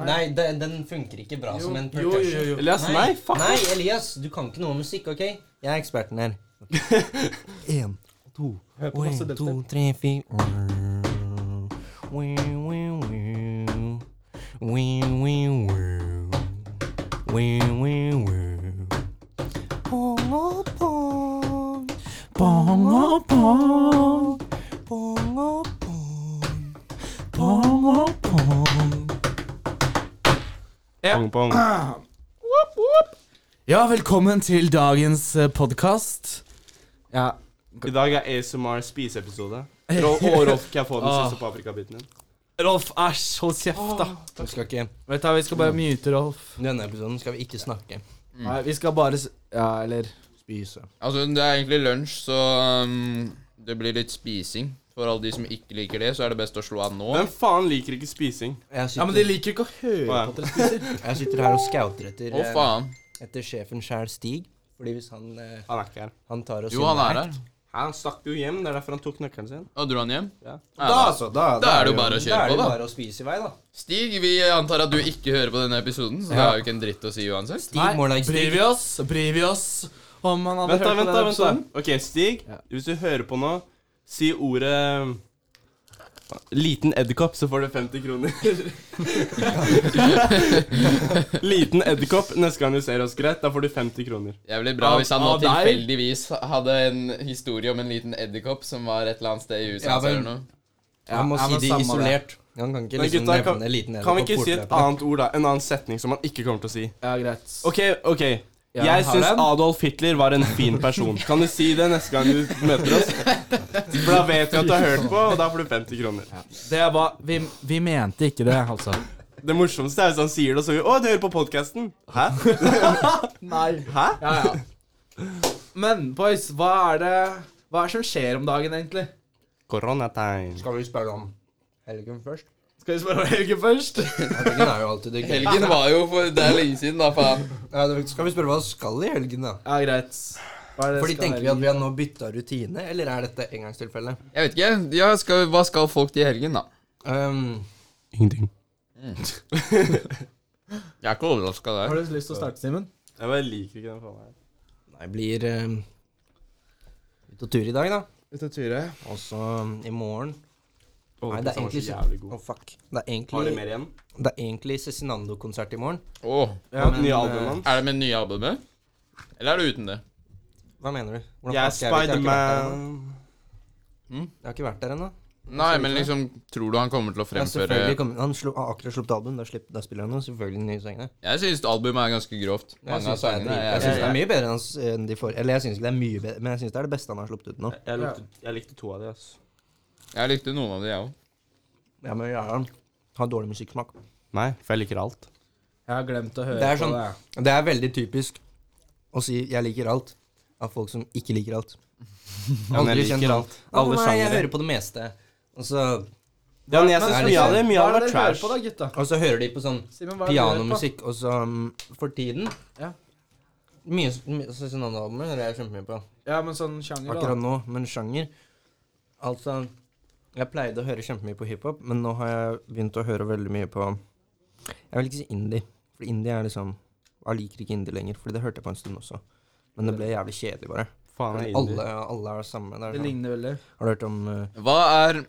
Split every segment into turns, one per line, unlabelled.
Nei, den, den funker ikke bra som en
jo,
percussion.
jo, jo.
Elias, nei, fuck.
Nei, Elias, du kan ikke noe om musikk, OK? Jeg er eksperten her. Én, to,
Hør på masse delta.
tre, fire Wee, wee, wee. Wee, wee, wee. Wee, wee, wee. Pong og pong. Pong og pong. Pong og pong. Pong og pong.
Pong, pong.
Ja, velkommen til dagens eh, podkast. Ja.
I dag er ASMR spiseepisode. Rolf, og Rolf, kan jeg få den
Ah.
siste paprikabiten din?
Rolf, æsj, hold kjeft, da.
Vi skal ikke,
Vet du, hva, Vi skal bare myte Rolf.
I denne episoden skal vi ikke snakke.
Mm.
Nei, vi skal bare s- Ja, eller
Spise.
Altså, det er egentlig lunsj, så um, det blir litt spising. For alle de som ikke liker det, så er det best å slå av nå.
Hvem faen liker ikke spising?
Jeg
Ja,
sitter,
Men de liker jo ikke å høre
Å, ja.
på at dere spiser.
jeg sitter her og scouter etter,
Å,
eh,
faen.
etter sjefen sjæl, Stig. Fordi hvis han, eh,
Han er ikke her.
han tar oss
Jo, han er her.
Han stakk jo hjem. Det er derfor han tok nøkkelen sin.
Og dro han hjem?
Ja.
Da,
Ja, da.
altså, da,
Da er det jo bare å kjøre
da. er det
på, da.
bare å spise i vei, da.
Stig, vi antar at du ikke hører på denne episoden, så det
Ja.
er jo ikke en dritt å si uansett.
Stig må like
bryr
Stig.
vi oss? Bryr vi oss om han hadde
Vent, da,
hørt
vent,
på
da.
den
vent da.
episoden?
OK, Stig.
Ja.
Hvis du hører på nå, si ordet eh, Liten edderkopp, så får du 50 kroner. Liten edderkopp neste gang du ser oss, greit? Da får du 50 kroner.
Det er vel litt bra hvis han nå
Av- av deg?
tilfeldigvis hadde en historie om en liten edderkopp som var et eller annet sted i USA
Ja, men-
eller noe.
Ja,
Han må
ja,
si
men
det
samme
isolert. Han kan ikke
Men
liksom
gutta,
nevne
kan,
liten edderkopp
kan vi ikke si et
fortløpende.
annet ord, da? En annen setning som han ikke kommer til å si.
Ja, greit.
OK, OK.
Ja,
jeg
har
syns
den.
Adolf Hitler var en fin person. Kan du si det neste gang du møter oss? For da vet vi at du har hørt på, og da får du 50 kroner.
Det er bare vi, vi mente ikke det, altså.
Det morsomste er hvis han sier det, og så sier vi 'Å, du hører på podkasten'. Hæ?
Nei.
Hæ?
Ja, ja. Men boys, hva er det Hva er det som skjer om dagen, egentlig?
Koronategn.
Skal vi spørre om helgen først?
Skal vi spørre om helgen først?
Helgen er jo alltid det gøy.
Helgen var jo for Det er lenge siden, da, faen.
Ja, det- skal vi spørre hva vi skal i helgen, da?
Ja, greit. Hva er det
Fordi
skal
Tenker vi
være?
at vi har nå bytta rutine, eller er dette engangstilfelle?
Jeg vet ikke. Ja, skal, hva skal folk til i helgen, da?
Um,
Ingenting.
Jeg er ikke overraska der.
Har du lyst til å starte, Simen?
Jeg bare liker ikke den faen her.
nei, blir um, ut og tur i dag, da.
Ut og ture.
Og så um, i morgen
Å,
Nei,
den
det er
var
egentlig
så
så-
jævlig god.
Å, fuck. Det er
Har de
egentlig,
mer igjen?
det er egentlig Cezinando-konsert i morgen.
Åh,
Ja, men,
Nye
eh,
albumet hans?
er det med det nye albumet? Eller er det uten det?
Hva mener du? Hvordan
Jeg er
fuck det? Jeg har ikke vært der ennå.
Spiderman.
Jeg har ikke vært der ennå.
Nei, men liksom, tror du han kommer til å
Ja,
fremføre
selvfølgelig kom- Han slo, har akkurat sluppet album, da, slipp, da spiller han jo selvfølgelig de nye sangene.
Jeg syns albumet er ganske grovt.
Jeg
Mange av
syns det, er
sangene
drit-
er
jeg synes det er mye bedre enn hans- enn de får Eller jeg syns ikke det er mye bedre, men jeg syns det er det beste han har sluppet ut nå.
Jeg likte, jeg likte to av de, ass.
Jeg likte noen av de, jeg òg.
Ja, men jeg har- har dårlig musikksmak.
Nei, for jeg liker alt.
Jeg har glemt å høre
Det er
på
sånn- Det er veldig typisk å si 'jeg liker alt' av folk som ikke liker alt.
Ja, men
Aldri
jeg
kjent
liker
alt.
alt.
Ja,
Alle
nei, jeg
sjangere.
hører på det meste. Og så,
Ja, men jeg
Men
syns
det
mye av
liksom-
det mye av det var
Hva er det dere hører
trash.
på da, gutta?
og så hører de på sånn
Simen, hva er det dere hører på?
pianomusikk, og så um, For tiden
Ja.
Mye altså, Cezinando-albumer hører jeg kjempemye på.
Ja, men sånn sjanger, da.
Akkurat nå, men sjanger Altså, jeg pleide å høre kjempemye på hiphop, men nå har jeg begynt å høre veldig mye på Jeg vil ikke si indie, for indie er liksom Jeg liker ikke indie lenger, fordi det hørte jeg på en stund også. Men det ble jævlig kjedelig, bare.
Faen, jeg er
Alle, alle er det samme. Det
Det
er sånn.
ligner veldig.
Har du hørt om eh,
Hva er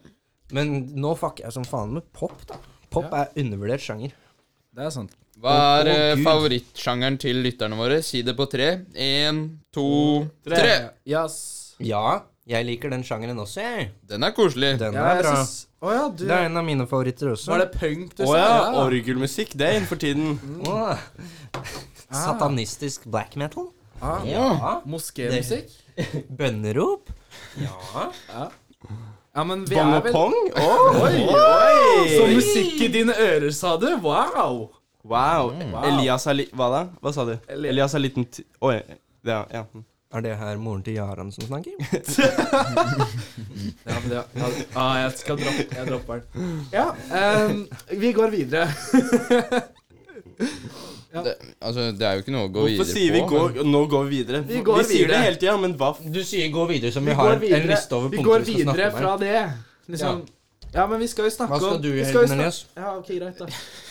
Men nå fucker jeg som faen med pop, da. Pop er undervurdert sjanger.
Det er sant.
hva
Å,
er eh,
Gud.
favorittsjangeren til lytterne våre? Si det på tre. Én, to, tre.
Yes.
Ja, jeg liker den sjangeren også, jeg.
Den er koselig.
Den
Ja,
er
jeg
bra.
syns Å ja, du
Det er en av mine favoritter også.
Var det punk du
Å
sa?
ja,
Ja.
orgelmusikk. Det er innenfor tiden.
Åh. Ah. Satanistisk black metal?
Ah.
Ja.
Moskémusikk?
Bønnerop?
Ja, men vi
Bong
er
og
vel
pong. Oi, oi.
Så musikk i dine ører, sa du? Wow!
Wow.
Wow.
Elias har litt Hva da? Hva sa du?
Eli-
Elias har liten t... Oi. Ja, ja.
Er det her moren til Jaran som snakker?
Ja, men det, ja, ah, jeg skal droppe Jeg dropper den. Ja, ehm, vi går videre.
Det, altså, det er jo ikke noe å gå
Hvorfor
videre
sier vi
på.
gå,
men-
nå går vi videre?
Vi går
sier det
videre.
hele tida, men hva f...
Du sier 'gå videre' som
Vi
vi, har
går
en
videre,
liste over
vi
punkter
går
vi skal
videre
snakke om.
fra det. Liksom Ja, men vi skal jo snakke
Hva skal
om-
du
vi
i
skal jo
helgen,
snak-
Elias?
Ja, ok, greit, da.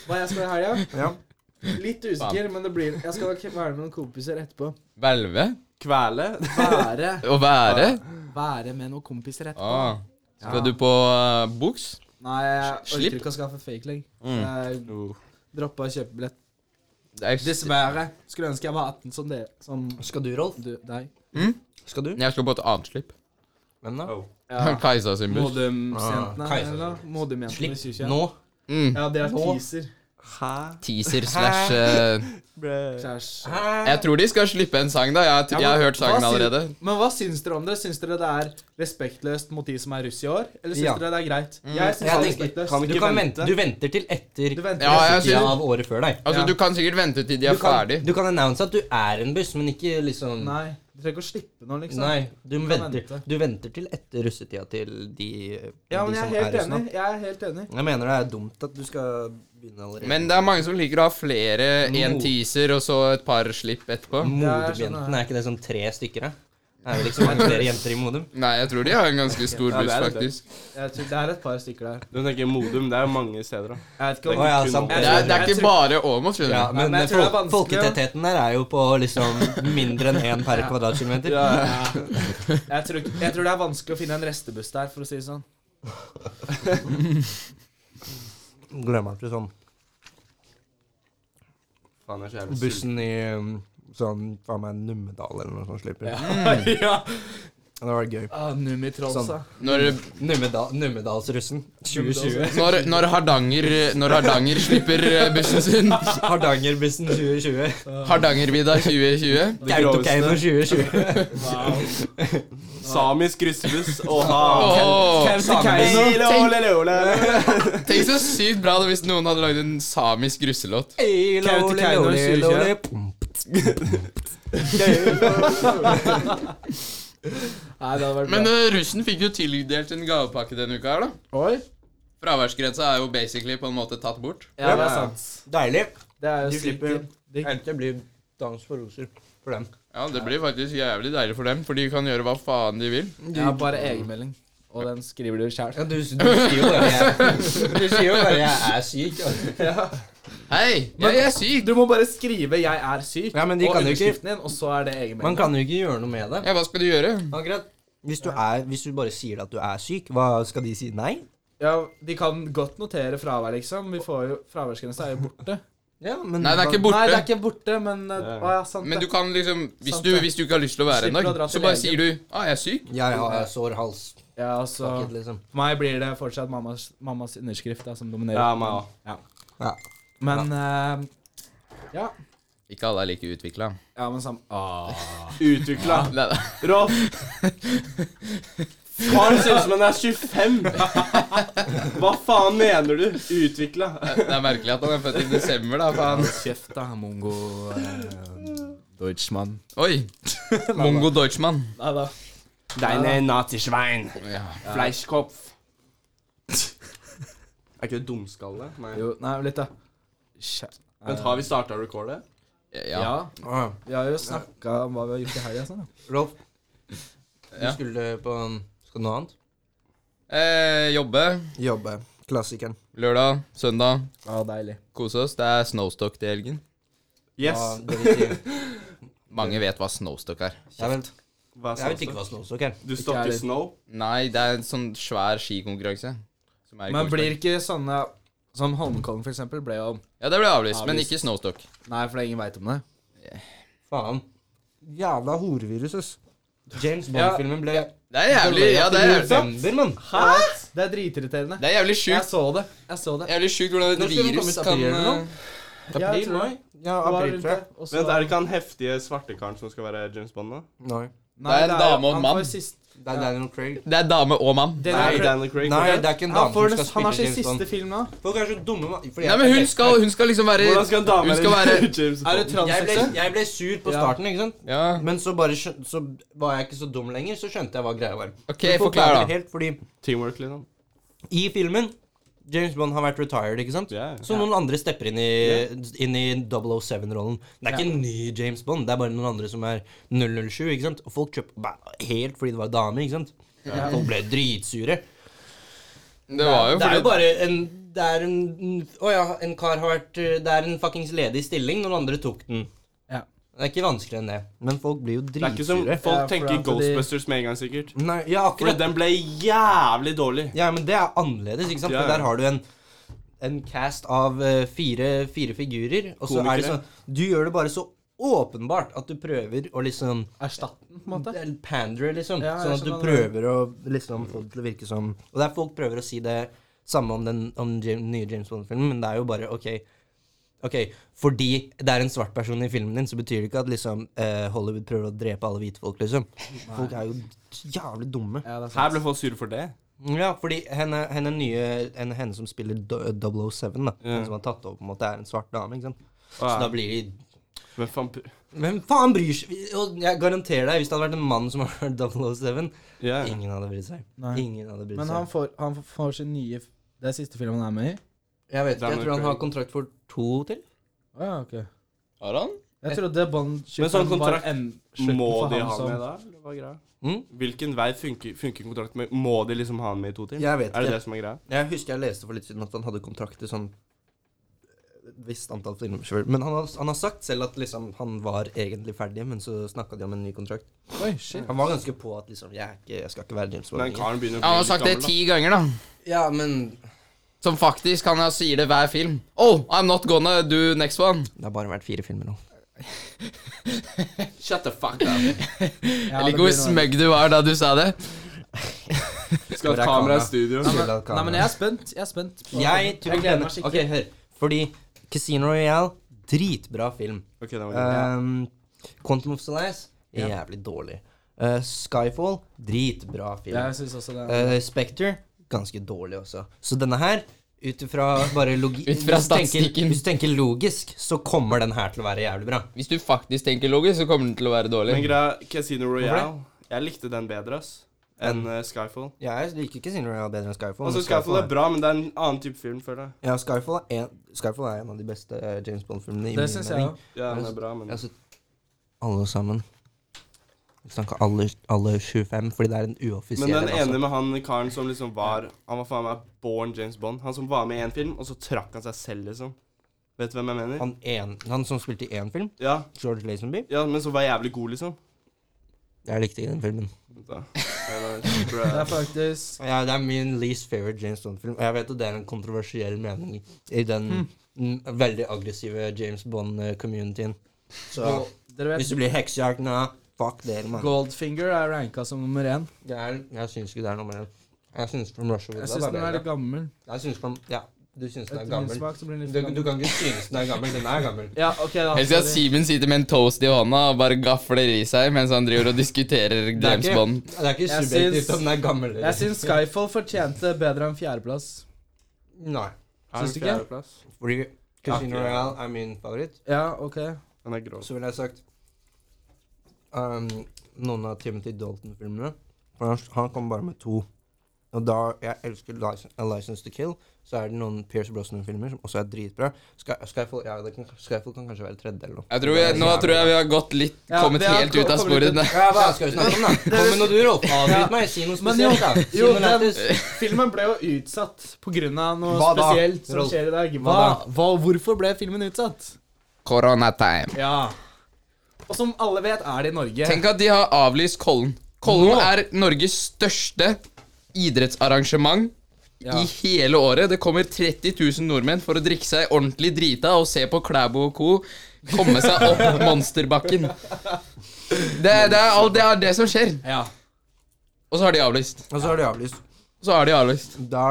Hva jeg skal i helga?
Ja.
Litt usikker, men det blir Jeg skal ikke være med noen kompiser etterpå.
Hvelve?
Kvele?
Være
Å være?
Være med noen kompiser etterpå.
Ah. Skal
Ja.
du på eh, boks?
Nei, jeg
Slipp.
orker ikke å skaffe fake leg.
Mm.
Jeg
Oh.
droppa å kjøpe billett.
Det er ikke-
Dessverre. Skulle ønske jeg var 18 som dere. Som
Skal du, Rolf?
du, deg.
Skal du?
Jeg skal på et annet slipp.
Hvem da?
Ja.
Kajsa sin buss.
Modumsjentene,
Ah, Kaiser.
eller? Modumjentene
Slipp
i 2021.
nå.
Mm.
Ja, det er
Nå.
teaser.
Hæ?
Teaser slash eh,
Kjærs.
Hæ?
Jeg tror de skal slippe en sang, da. Jeg,
Ja,
jeg har
men
hørt
hva
sangen
sier-
allerede.
Men hva syns dere om det? Syns dere det er respektløst mot de som er russ i år? Eller syns
Ja.
dere det er greit?
Mm.
Jeg syns det
Jeg
er
tenker-
respektløst.
kan
Du, kan vente. du venter til etter
Du venter
Ja,
litt.
jeg
tida
synes
av året før deg.
Altså,
Ja.
Du kan sikkert vente til de er
Du kan,
ferdig.
du kan announce at du er en buss, men ikke liksom
Nei. Du trenger ikke å slippe noe, liksom.
Nei, du,
Du kan
venter,
vente.
du venter til etter russetida til de,
Ja,
de
men jeg
som
er helt
russen, da.
enig. Jeg er helt enig.
Jeg mener det er dumt at du skal begynne allerede.
Men det er mange som liker å ha flere. Én
Mo.
teaser og så et par slipp etterpå.
Modumjentene, er ikke det sånn tre stykker, da? Det er vel liksom flere jenter i Modum?
Nei, jeg tror de har en ganske stor
Ja, det
buss,
er det.
faktisk.
Jeg tror, det er et par stykker der.
Du tenker Modum, det er jo mange steder, da.
Jeg vet ikke
Å
om
ja,
kun
sant.
Det er, det er
Jeg
ikke
tror-
bare Åmot,
Ja,
skjønner du.
men,
men jeg tror det er
fol-
vanskelig,
folketettheten der er jo på liksom mindre enn én per kvadratkilometer.
jeg, tror, ikke- jeg tror det er vanskelig å finne en restebuss der, for å si det sånn.
Glemmer ikke sånn
Faen, jeg er så jævlig sulten.
bussen i um, sånn faen meg Numedal eller noe sånt slipper. Mm.
ja.
Det hadde vært gøy.
Ah,
Sånn,
Nummitrolsa.
Når,
Numedal, Numedalsrussen 2020.
når, når, Hardanger, når Hardanger slipper eh, bussen sin.
Hardangerbussen 2020.
Hardangervidda 2020.
Kautokeino 2020.
Wow.
Samisk russebuss. Åha.
Åh,
Kautokeino.
Hele ole, ole, ole.
tenk så sykt bra det hvis noen hadde lagd en samisk russelåt.
Hey, loli,
Kautokeino
loli,
2020.
loli. Pum.
Nei, det hadde vært
Men
bra.
eh, russen fikk jo tildelt en gavepakke denne uka her, da.
Oi.
Fraværsgrensa er jo basically på en måte tatt bort.
Ja, det
Ja.
er sant.
Deilig.
Det er jo
Du slipper
sikkert digg.
Endte blir dans for roser for dem.
Ja, det blir faktisk jævlig deilig for dem, for de kan gjøre hva faen de vil.
Jeg har bare egenmelding, og den skriver du sjæl.
Ja, du, du sier jo bare jeg, du sier jo bare jeg er syk.
Hei, jeg, jeg er syk!
Du må bare skrive 'jeg er syk'
Ja, men de
og
kan jo ikke-
underskriften din, og så er det
Man
egenmelding.
kan jo ikke gjøre noe med det.
Ja, hva skal du gjøre?
Akkurat. Hvis du, er, hvis du bare sier at du er syk, hva skal de si? Nei?
Ja, De kan godt notere fravær, liksom. Vi får jo, Fraværsgrensa er jo borte.
Ja, men
Nei, det er ikke
Nei, det
borte.
er ikke borte, men eh,
Ja.
Å ja, sant
Men du
det.
kan liksom Hvis
Sant
du,
det.
hvis du ikke har lyst til å være en
Slipper å dra
dag, så
til
bare
legen.
sier du ah, 'jeg er syk'.
Ja, ja, jeg sår hals.
Ja, altså
Fuck it, liksom.
For meg blir det fortsatt mammas, mammas underskrift da, som dominerer.
Ja, meg òg.
Ja.
Men eh, ja.
Ikke alle er like utvikla.
ja, men sam... Ah.
Utvikla.
Nei
Rolf. Faren ser ut som han er 25. Hva faen mener du? Utvikla.
Det er merkelig at han er født i desember, da, faen.
Kjeft, da, mongo eh, Deutschmann.
Oi. Mongo Deutschmann.
Nei da.
Deine Nazi-Schwein.
Ja.
Fleischkopf. Er ikke det dumskalle? Nei.
Jo, nei, litt, da. Kjæ-
Vent, har vi starta recordet?
ja.
Ja.
Ah,
Vi har jo snakka om hva vi har gjort i helga. Sånn, da.
Rolf, du
Ja.
skulle på en- Skal du noe annet?
Eh, jobbe.
Jobbe. Klassikeren.
Lørdag, søndag.
Ah, deilig.
Kose oss. Det er snowstock til helgen.
Yes.
Hva- det vil si-
Mange vet hva snowstock er.
Jeg vet,
Hva
jeg vet
sa
ikke
du?
hva snowstock er.
Du stokker
heller.
snow?
Nei, det er en sånn svær skikonkurranse. som er i
Men
Kongsberg.
blir ikke sånne Som Holmenkollen, for eksempel, ble jo
Ja, det ble avlyst, men
Avlyst.
ikke snowstock.
Nei, for ingen veit om det.
Faen. Jævla horevirus, ass. James
Ja.
Bond-filmen ble
Det er jævlig ja, det er,
i
jævlig-
november, mann.
Hæ? Det er dritirriterende.
det er jævlig
Jeg
sjukt.
så det. Jeg så det.
Jævlig sjukt
Når
hvordan et
skal den
virus
komme ut,
kan
april eller noe?
eh,
April, mai?
Ja,
Det var
april,
rundt
tror jeg.
det, og så-
Vent, Er det ikke han heftige svartekaren som skal være James Bond nå?
Nei.
Nei,
Det er
jo-
en dame og en
han
mann.
får sist-
Det er Daniel Craig.
Det er dame og mann.
Det
Nei,
er-
Daniel Craig.
Nei,
hvordan-
det er ikke en
Han,
dame
får
som
det,
skal
han har
spille
sin
James
siste
Bond.
film nå.
Folk er så dumme, mann. Fordi
Nei,
jeg-
men hun skal, hun skal liksom være
Hvordan skal en dame
Hun skal være-
James
Er du
Bond?
jeg ble,
transseksuell?
jeg ble sur på
Ja.
starten, ikke sant?
Ja,
Men så, bare skjøn, så var jeg ikke så dum lenger, så skjønte jeg hva greia var.
OK,
Men folk
forklar,
klarer
da.
Helt, fordi
Teamwork, liksom.
I filmen James Bond har vært retired, ikke sant?
Ja, ja.
Så noen andre stepper inn i, inn i 007-rollen. Det er ikke en ny James Bond, det er bare noen andre som er 007. ikke sant? Og folk kjøpte bare helt fordi det var damer, ikke sant? Folk ble dritsure.
Det var jo
Det er jo
fordi
bare en Det er en Å ja, en kar har vært eh, Det er en fuckings ledig stilling. Noen andre tok den.
Ja.
Det er ikke vanskeligere enn det.
Men folk blir jo
Det er ikke som
dritsure.
Ja,
folk
for
tenker
at de-
Ghostbusters med en gang, sikkert.
Nei, ja,
Fordi
akkurat.
den ble jævlig dårlig.
Ja, men det er annerledes, ikke sant?
Ja, ja.
For der har du en, en cast av eh, fire, fire figurer, og så er det
Komikere.
sånn Du gjør det bare så åpenbart at du prøver å liksom
Erstatt den, på en måte.
Eller Pandere, liksom.
Ja, jeg
sånn at du
skjønner det.
prøver å liksom få det til å virke som Og der folk prøver å si det samme om den om den Jam- nye James Bond-filmen, men det er jo bare OK. Ok, Fordi det er en svart person i filmen din, så betyr det ikke at liksom eh, Hollywood prøver å drepe alle hvite folk, liksom. Folk er jo jævlig dumme.
Ja, det er sant.
Her ble folk sure for det.
Ja, fordi henne, henne nye henne, henne som spiller do- 007, da,
Ja.
hun som har tatt over, på en måte, er en svart dame, ikke sant. Så da
Åh,
blir de
Men faen pr-
Hvem faen bryr seg? Og jeg garanterer deg, hvis det hadde vært en mann som hadde vært 007,
Ja.
Ingen hadde brydd seg.
Nei.
Ingen hadde brydd
Men han
seg.
får, han får sin nye f- Det er siste filmen han er med i?
Jeg vet ikke, jeg
Daniel
tror han
Craig.
har kontrakt for to til.
Å ja, ok.
Har han?
Jeg trodde Bond
Men
25 var
sånn kontrakt
en
Må
slutten for
de
han
ha
som-
med da? eller hva er greia?
Mm?
Hvilken vei funker, funker kontrakt med? Må de liksom ha han med i to til?
Jeg vet
Er det
ikke.
det som er greia?
Jeg husker jeg leste for litt siden at han hadde kontrakt til sånn et visst antall filmer. selv. Men han har, han har sagt selv at liksom han var egentlig ferdig, men så snakka de om en ny kontrakt.
Oi, shit.
Han var ganske på at liksom Jeg, er ikke, jeg skal ikke være James Bond.
Den
lenger.
karen begynner å
Ja, han har
bli
sagt det
litt gammel, da.
ti ganger, da.
Ja, men
Som faktisk, han har- sier det hver film. Oh, I'm not gonna do next one.
Det har bare vært fire filmer nå.
Shut the fuck up.
Ja, det
Jeg liker hvor
blir noe-
smøgg du var da du sa det.
Hvor er
Skal ha et kamera i
kamera?
studio.
Nei, men jeg er spent. Jeg er spent. på-
Jeg tror
gleder meg
denne Ok, hør. Fordi Casino Royale, dritbra film.
Ok, det var greit.
Um, Quantum of Solace er jævlig dårlig. Uh, Skyfall dritbra film.
Jeg syns også det. er-
Uh, Spectre ganske dårlig også. Så denne her, ut ifra bare logi
Ut fra
hvis du tenker-
statistikken.
Hvis du tenker logisk, så kommer den her til å være jævlig bra.
Hvis du faktisk tenker logisk, så kommer den til å være
Men
dårlig.
greia, Casino Royale Jeg likte den bedre, ass. Enn eh, Skyfall.
Jeg liker Casino Royale bedre enn Skyfall.
Altså,
men
Skyfall er bra, men det er en annen type film, føler jeg.
Ja, Skyfall er en, Skyfall er en av de beste eh, James Bond-filmene. i min
Det syns jeg
mening.
òg.
Ja, den er bra, men
Altså, alle sammen. Vi snakker alle, alle 25, fordi det er en uoffisiell
Men den
altså.
ene med han karen som liksom var Han var faen meg born James Bond. Han som var med i én film, og så trakk han seg selv, liksom. Vet du hvem jeg mener?
han, en, han som spilte i én film,
Ja,
George Lazenby.
ja men som var jævlig god, liksom.
Jeg likte ikke den filmen.
Vent da. Eller,
Det er
bro.
faktisk
Ja, det er min least favorite James Bond-film. Og jeg vet at det er en kontroversiell mening i den
Hmm.
mm, veldig aggressive James Bond-communityen. Så
Og Dere
hvis
vet,
du blir heksejakt nå, fuck dere, mann.
Goldfinger er ranka som nummer én.
Det er- Jeg syns ikke det er noe med det. Jeg syns From Russia
Jeg
With
syns
Love er
den er litt
bedre.
gammel.
Jeg syns From Ja, du syns den er
Etter min
gammel.
smak så blir den litt
Du,
for gammel.
du kan ikke synes den er gammel. Den er gammel.
Ja, ok, da.
Helst at
sorry.
Simen sitter med en toast i hånda og bare gafler i seg mens han driver og diskuterer
Det er
James
ikke-
Bond.
Det er ikke
Jeg
subjektivt
syns-
om den er gammel. eller
Jeg syns Skyfall fortjente bedre enn fjerdeplass.
Nei.
Syns du ikke?
Fjerdeplass.
Fordi Casino
Ja, ok.
Royale er min favoritt.
Ja, ok.
Han er grov.
Så ville jeg sagt um, noen av Timothy Dalton-filmene. For han, han kom bare med to. Og da jeg elsker License, A License to Kill, så er det noen Pierce Brosnan-filmer som også er dritbra. Sky, Skyfall, ja, det kan, Skyfall kan kanskje være tredje eller noe.
Jeg tror vi, nå tror jeg vi har gått litt,
Ja,
kommet
vi har
helt ut av
kommet litt-
sporet. der.
Ja, hva skal vi snakke om, da? Kom med noe du, Rolf. Avbryt meg. Si noe
Men jo,
spesielt, da. Si
jo
noe
den,
lættis.
filmen ble jo utsatt pga. noe
Hva da,
spesielt som
Rolf?
skjer i dag. Hva,
Hva
hva, hvorfor ble filmen utsatt?
Corona time.
Ja. Og som alle vet, er det i Norge.
Tenk at de har avlyst Kollen. Kollen
Nå?
er Norges største idrettsarrangement
Ja.
i hele året. Det kommer 30 000 nordmenn for å drikke seg ordentlig drita og se på Klæbo og co. komme seg opp monsterbakken. Det, er- det, er, alt- det er det som skjer.
Ja.
Og så har de avlyst.
Og så har de avlyst.
Så har de avlyst.
Da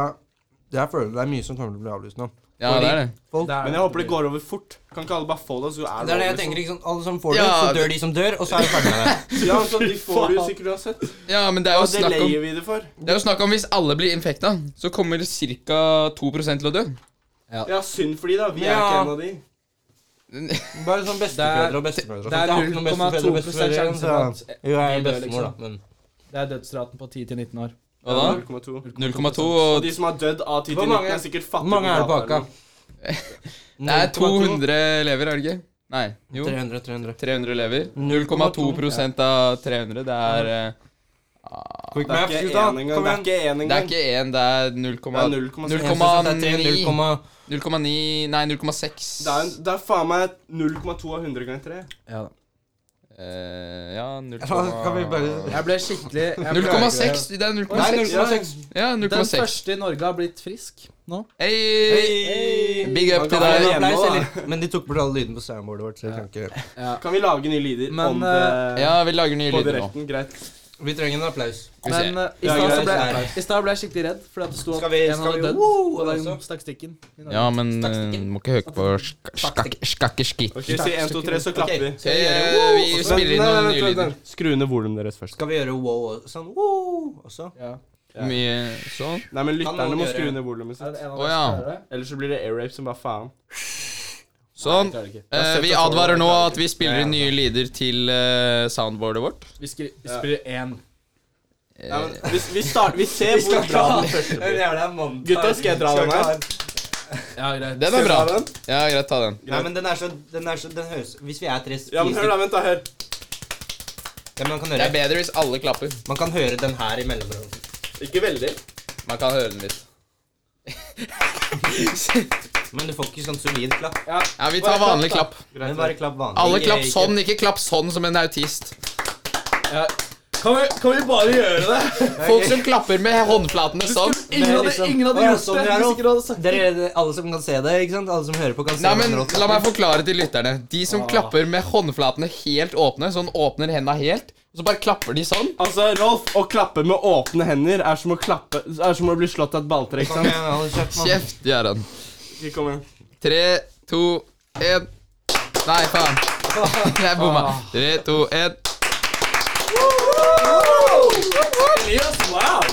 Jeg føler det er mye som kommer til å bli avlyst nå.
Ja, det er det.
Folk
Men jeg håper det går over fort. Kan ikke alle bare få det, så er
Det er det jeg
over,
tenker. ikke sant? Alle som får det,
Ja,
så dør de som dør, og så er vi ferdig med det.
liksom. Ja, så de får det jo sikkert uansett.
Ja, men det er jo
Og det
snakk om,
leier vi det for.
det er jo snakk om hvis alle blir infekta, så kommer ca. 2 til å dø.
Ja, synd for de, da. Vi er
Ja.
ikke en av de.
Bare sånn besteforeldre og bestemødre. og
det er
sånt. Jeg har ikke noen besteforeldre og
0,2%
besteforeldre,
sjanse
så-
for at
Jo, jeg er
vi dør,
bestemor, da,
liksom.
men
Det er dødsraten på 10-19 år.
Hva da?
0,2.
0,2
Og
og
de som har dødd av
Hvor
10-19,
mange-
er sikkert
Hvor
fattige.
mange er det på Aka?
Det er 200 elever, er det ikke? Nei. Jo.
300, 300.
300 elever. 0,2 av 300. Det er eh,
Quick
Det er
maps,
ikke
gutta!
én
Kom
engang. Det er
igjen!
ikke én
Det er
engang.
ikke én, det er 0,9
0,6.
0,9
0,9.
0,9 Nei, 0,6.
Det er, det er faen meg 0,2 av 100 ganger 3.
Ja da.
Eh, Ja, 0,
Kan vi bare
Jeg ble skikkelig jeg ble-
0,6. Det er 0,6.
0,6.
Ja,
Den
0,6.
første i Norge har blitt frisk nå.
Hey. Big up til
Det er
deg.
hjemme
Applaus,
også,
eller? Men de tok bort alle lydene på soundboardet vårt. Så jeg kan ikke
Kan vi lage nye lyder
Men,
on
eh,
the,
Ja, vi lager nye
på
lyder nå.
direkten? Greit.
Vi trenger en applaus.
Skal vi se.
Men eh, i
Ja,
stad så
greit,
ble,
greit.
i stad ble jeg skikkelig redd, fordi at det sto at
Skal vi-
en
skal vi-
hadde dødd.
Wow,
Og
altså.
da stakk stikken. i Norge.
Ja, men
Stakk
eh,
stikken.
må ikke høke på sk- skakk- skakkeski.
Ok, Si 1, 2, 3, så klapper vi.
Skal vi Eh, vi spiller inn noen nye lyder?
Skru ned volumet deres først.
Skal vi gjøre wow og- sånn wow også?
Ja.
Ja.
Mye sånn?
Nei,
Kan
men
noen
lytterne må
gjøre-
skru ned volumet
Er
sitt.
det en av
Å,
dere
ja.
som klarer det?
Ellers så blir det airrape som bare faen.
Sånn.
Klarer ikke.
Eh, vi advarer nå at vi spiller inn nye lyder til eh, soundboardet vårt.
Vi skri- vi spiller én.
Eh,
Nei, men vi, vi, start, vi ser hvor bra den første blir. Gutter, skal jeg dra den her?
Ja, greit.
Den
Skal jeg
er bra.
dra den?
Ja, greit, ta den.
Nei, men den er så Den er så Den høres Hvis vi er tre
Ja, men hør da, vent da, hør.
Ja, men man kan
Det er
høre
bedre hvis alle klapper.
Man kan høre den her i mellomrommet.
Ikke veldig.
Man kan høre den litt.
Men du får ikke sånn solid klapp.
Ja, vi tar vanlig klapp.
Men bare klapp vanlig.
Alle klapp
Ikke-
sånn, ikke klapp sånn som en autist.
Kan vi, kan vi bare gjøre det?
Folk som klapper med håndflatene sånn.
Ingen hadde, ingen hadde
Å, ja,
gjort
sånn er
det
det.
hvis ikke du hadde sagt det.
Dere, alle som kan se det, ikke sant? Alle som hører på, kan se
Nei, men
den rått.
La meg forklare til lytterne. De som klapper med håndflatene helt åpne, sånn åpner henda helt, og så bare klapper de sånn.
Altså, Rolf, å klappe med åpne hender er som å, klappe, er som å bli slått av et balltre, ikke
Kom
sant?
igjen, alle kjeft, mann.
Kjeft, Gøran.
Ikke kom igjen.
Tre, to, én. Nei, faen. Jeg bomma.
Ah.
Tre, to, én.
Elias, wow!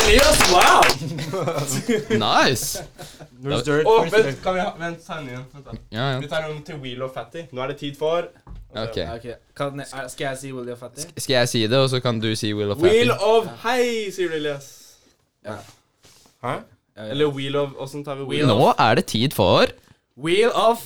Elias, wow!
Nice.
First dirt,
Å,
first
vent,
dirt.
kan vi ha, vent, ta den igjen. Vent da.
Ja,
Vi
ja.
tar den til Wheel of Fatty. Nå er det tid for
Ok.
Ja, ok. Kan, jeg- er- skal jeg si Willy og Fatty?
Skal jeg si det, og så kan du si Will of Fatty?
Wheel of Hei, sier du, Elias.
Hæ?
Eller Wheel of Åssen tar vi Wheel
Nå er det tid for
Wheel of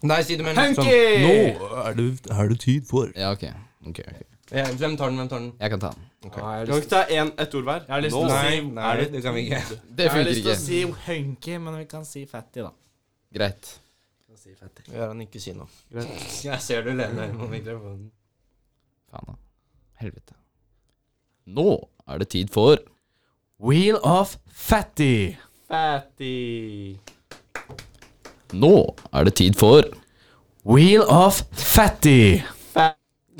Nei, si det med en sånn.
Hunky!
er det, er det tid for
Ja, ok. Ok, ok.
ja, Hvem tar den, hvem tar den?
Jeg kan ta den.
Ah, jeg har
Kan vi
lyst-
ikke ta en, ett ord hver?
Jeg har lyst
Nå.
til å si
Nei, nei, det kan vi ikke.
Det
Jeg har
funker
lyst til å
ikke.
si hunky, men vi kan si fatty, da.
Greit.
Gøran, ikke si noe. Jeg ser du lener på mikrofonen.
Faen, da. Helvete. Nå er det tid for
Wheel of fatty.
Fatty.
Nå er det tid for
Wheel of fatty.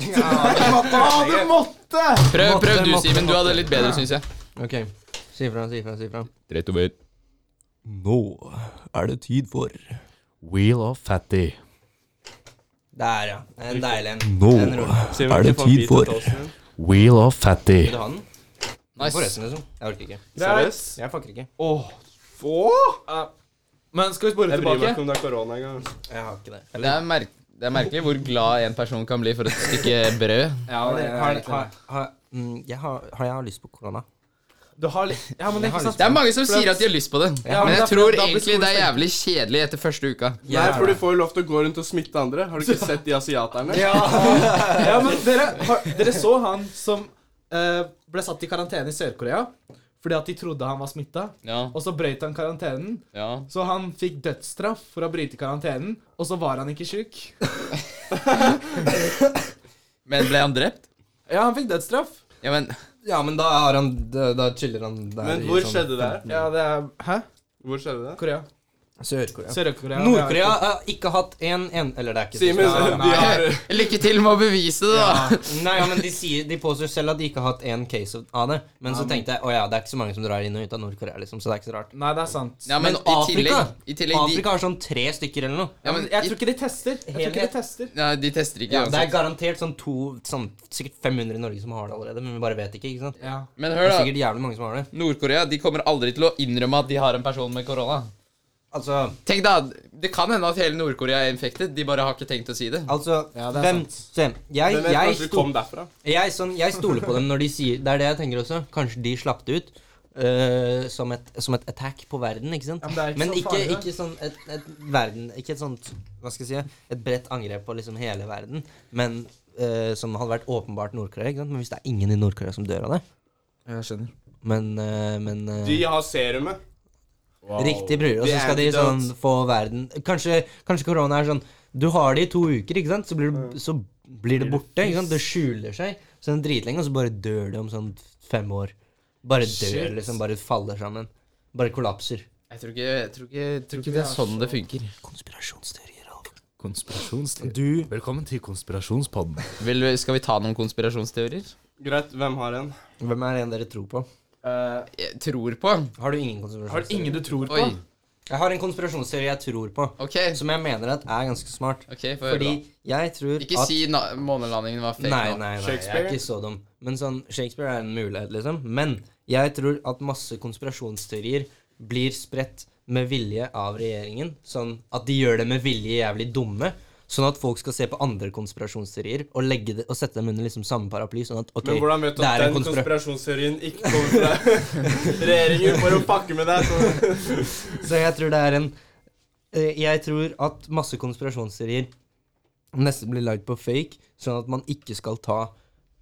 Å, du måtte!
Prøv,
Måtte,
prøv du,
måtte,
Simen. Du
måtte.
hadde litt bedre, syns jeg.
Ok, si fra, si fra, si fra.
Rett over.
Nå er det tid for
Wheel of fatty.
Der, ja. En deilig en.
Nå
En rolig.
er det tid for
Wheel of fatty.
Vil du ha den?
Nice.
Forresten, liksom. Jeg orker ikke.
Seriøst?
Jeg fucker ikke.
Åh, få?
Men skal vi spore
Jeg bryr meg ikke
tilbake?
om det er korona engang.
Jeg har ikke det.
Det er, merk det er merkelig hvor glad en person kan bli for et stykke brød.
Ja,
Har,
det er
har,
egentlig
har,
det.
har, mm, jeg har, har jeg har lyst på korona?
Du har litt Ja, men det er ikke sant.
Det er mange som sier at de har lyst på det,
Ja,
men
men
jeg
da-
tror
da blir
egentlig
skolen
det er jævlig kjedelig etter første uka.
Nei, for du får jo lov til å gå rundt og smitte andre. Har du ikke sett de asiaterne?
Ja, men dere, har, dere så han som eh, ble satt i karantene i Sør-Korea fordi at de trodde han var smitta,
Ja,
og så brøyt han karantenen.
ja.
Så han fikk dødsstraff for å bryte karantenen, og så var han ikke sjuk.
Men ble han drept?
Ja, han fikk dødsstraff.
Ja, men
Ja, men da har han Da, da chiller han der
Men
i
hvor
sånn
skjedde det?
Ja, det er Hæ?
Hvor skjedde det?
Korea.
Sør-Korea.
Sør-Korea.
Nord-Korea har ikke hatt en, en Eller det er ikke
Simen,
Sør-Korea.
de har
lykke til med å bevise det, da.
Nei, ja, men de, sier, de påstår selv at de ikke har hatt én case av- av det. Men så tenkte jeg å ja, det er ikke så mange som drar inn og ut av Nord-Korea, liksom, så det er ikke så rart.
Nei, det er sant.
Ja, men,
Men
i
Afrika-
tillegg, i tillegg de,
Afrika har sånn tre stykker eller noe.
ja, men,
Jeg
i,
tror ikke de tester. Jeg tror ikke de tester.
ja, de tester ikke
Ja, det er
uansett.
garantert sånn to sånn, Sikkert 500 i Norge som har det allerede, men vi bare vet ikke. ikke sant?
Ja.
Men
Det
hør,
er
da.
sikkert jævlig mange som har det.
Nord-Korea de kommer aldri til å innrømme at de har en person med korona.
Altså,
Tenk da, Det kan hende at hele Nord-Korea er infected. De bare har ikke tenkt å si det.
altså
Ja, det er
hvem,
sant.
se, jeg,
Hvem vet
jeg,
kanskje det
sto,
kom derfra?
jeg, sånn, jeg stoler på dem når de sier Det er det jeg tenker også. Kanskje de slapp det ut. eh, som, et, som et attack på verden, ikke sant?
Ja, men det er ikke
Men
så
ikke,
farlig.
ikke sånn et, et verden Ikke et sånt Hva skal jeg si Et bredt angrep på liksom hele verden, men eh, som hadde vært åpenbart Nord-Korea. ikke sant? Men hvis det er ingen i Nord-Korea som dør av det
Jeg skjønner.
Men, eh, men eh,
De har serumet.
Riktig, bror. Og
The
så skal de sånn
antidote.
få verden Kanskje, kanskje korona er sånn Du har det i to uker, ikke sant? Så blir, du, så blir det borte. ikke sant? Det skjuler seg sånn dritlenge, og så bare dør det om sånn fem år. Bare dør,
Shit.
liksom. Bare faller sammen. Bare kollapser.
Jeg tror ikke, jeg tror ikke, jeg tror ikke det er sånn det funker.
Konspirasjonsteorier og
Konspirasjonsteori.
Du
Velkommen til konspirasjonspodden.
Vil, vi- skal vi ta noen konspirasjonsteorier?
Greit, hvem har en?
Hvem er det en dere tror på?
Jeg eh, tror på.
Har du ingen
Eh, Har du
konspirasjonsteori?
ingen du tror på?
Oi.
Jeg har en konspirasjonsteori jeg tror på,
OK.
som jeg mener at er ganske smart.
ok, får jeg høre
Fordi
da.
jeg tror
Ikke
at
si na- månelandingen var fake.
Nei, nei,
nå.
nei, jeg er
Shakespeare?
ikke så dum. Men sånn, Shakespeare er en mulighet, liksom. Men jeg tror at masse konspirasjonsteorier blir spredt med vilje av regjeringen. Sånn at de gjør det med vilje jævlig dumme. Sånn at folk skal se på andre konspirasjonsteorier og, legge det, og sette dem under liksom samme paraply. Sånn at ok,
Men hvordan vet du
det
at
er en
den
konspira-
konspirasjonsteorien ikke kommer fra regjeringen for å pakke med deg? Så.
Så jeg tror det er en eh, Jeg tror at masse konspirasjonsserier nesten blir lagd på fake, sånn at man ikke skal ta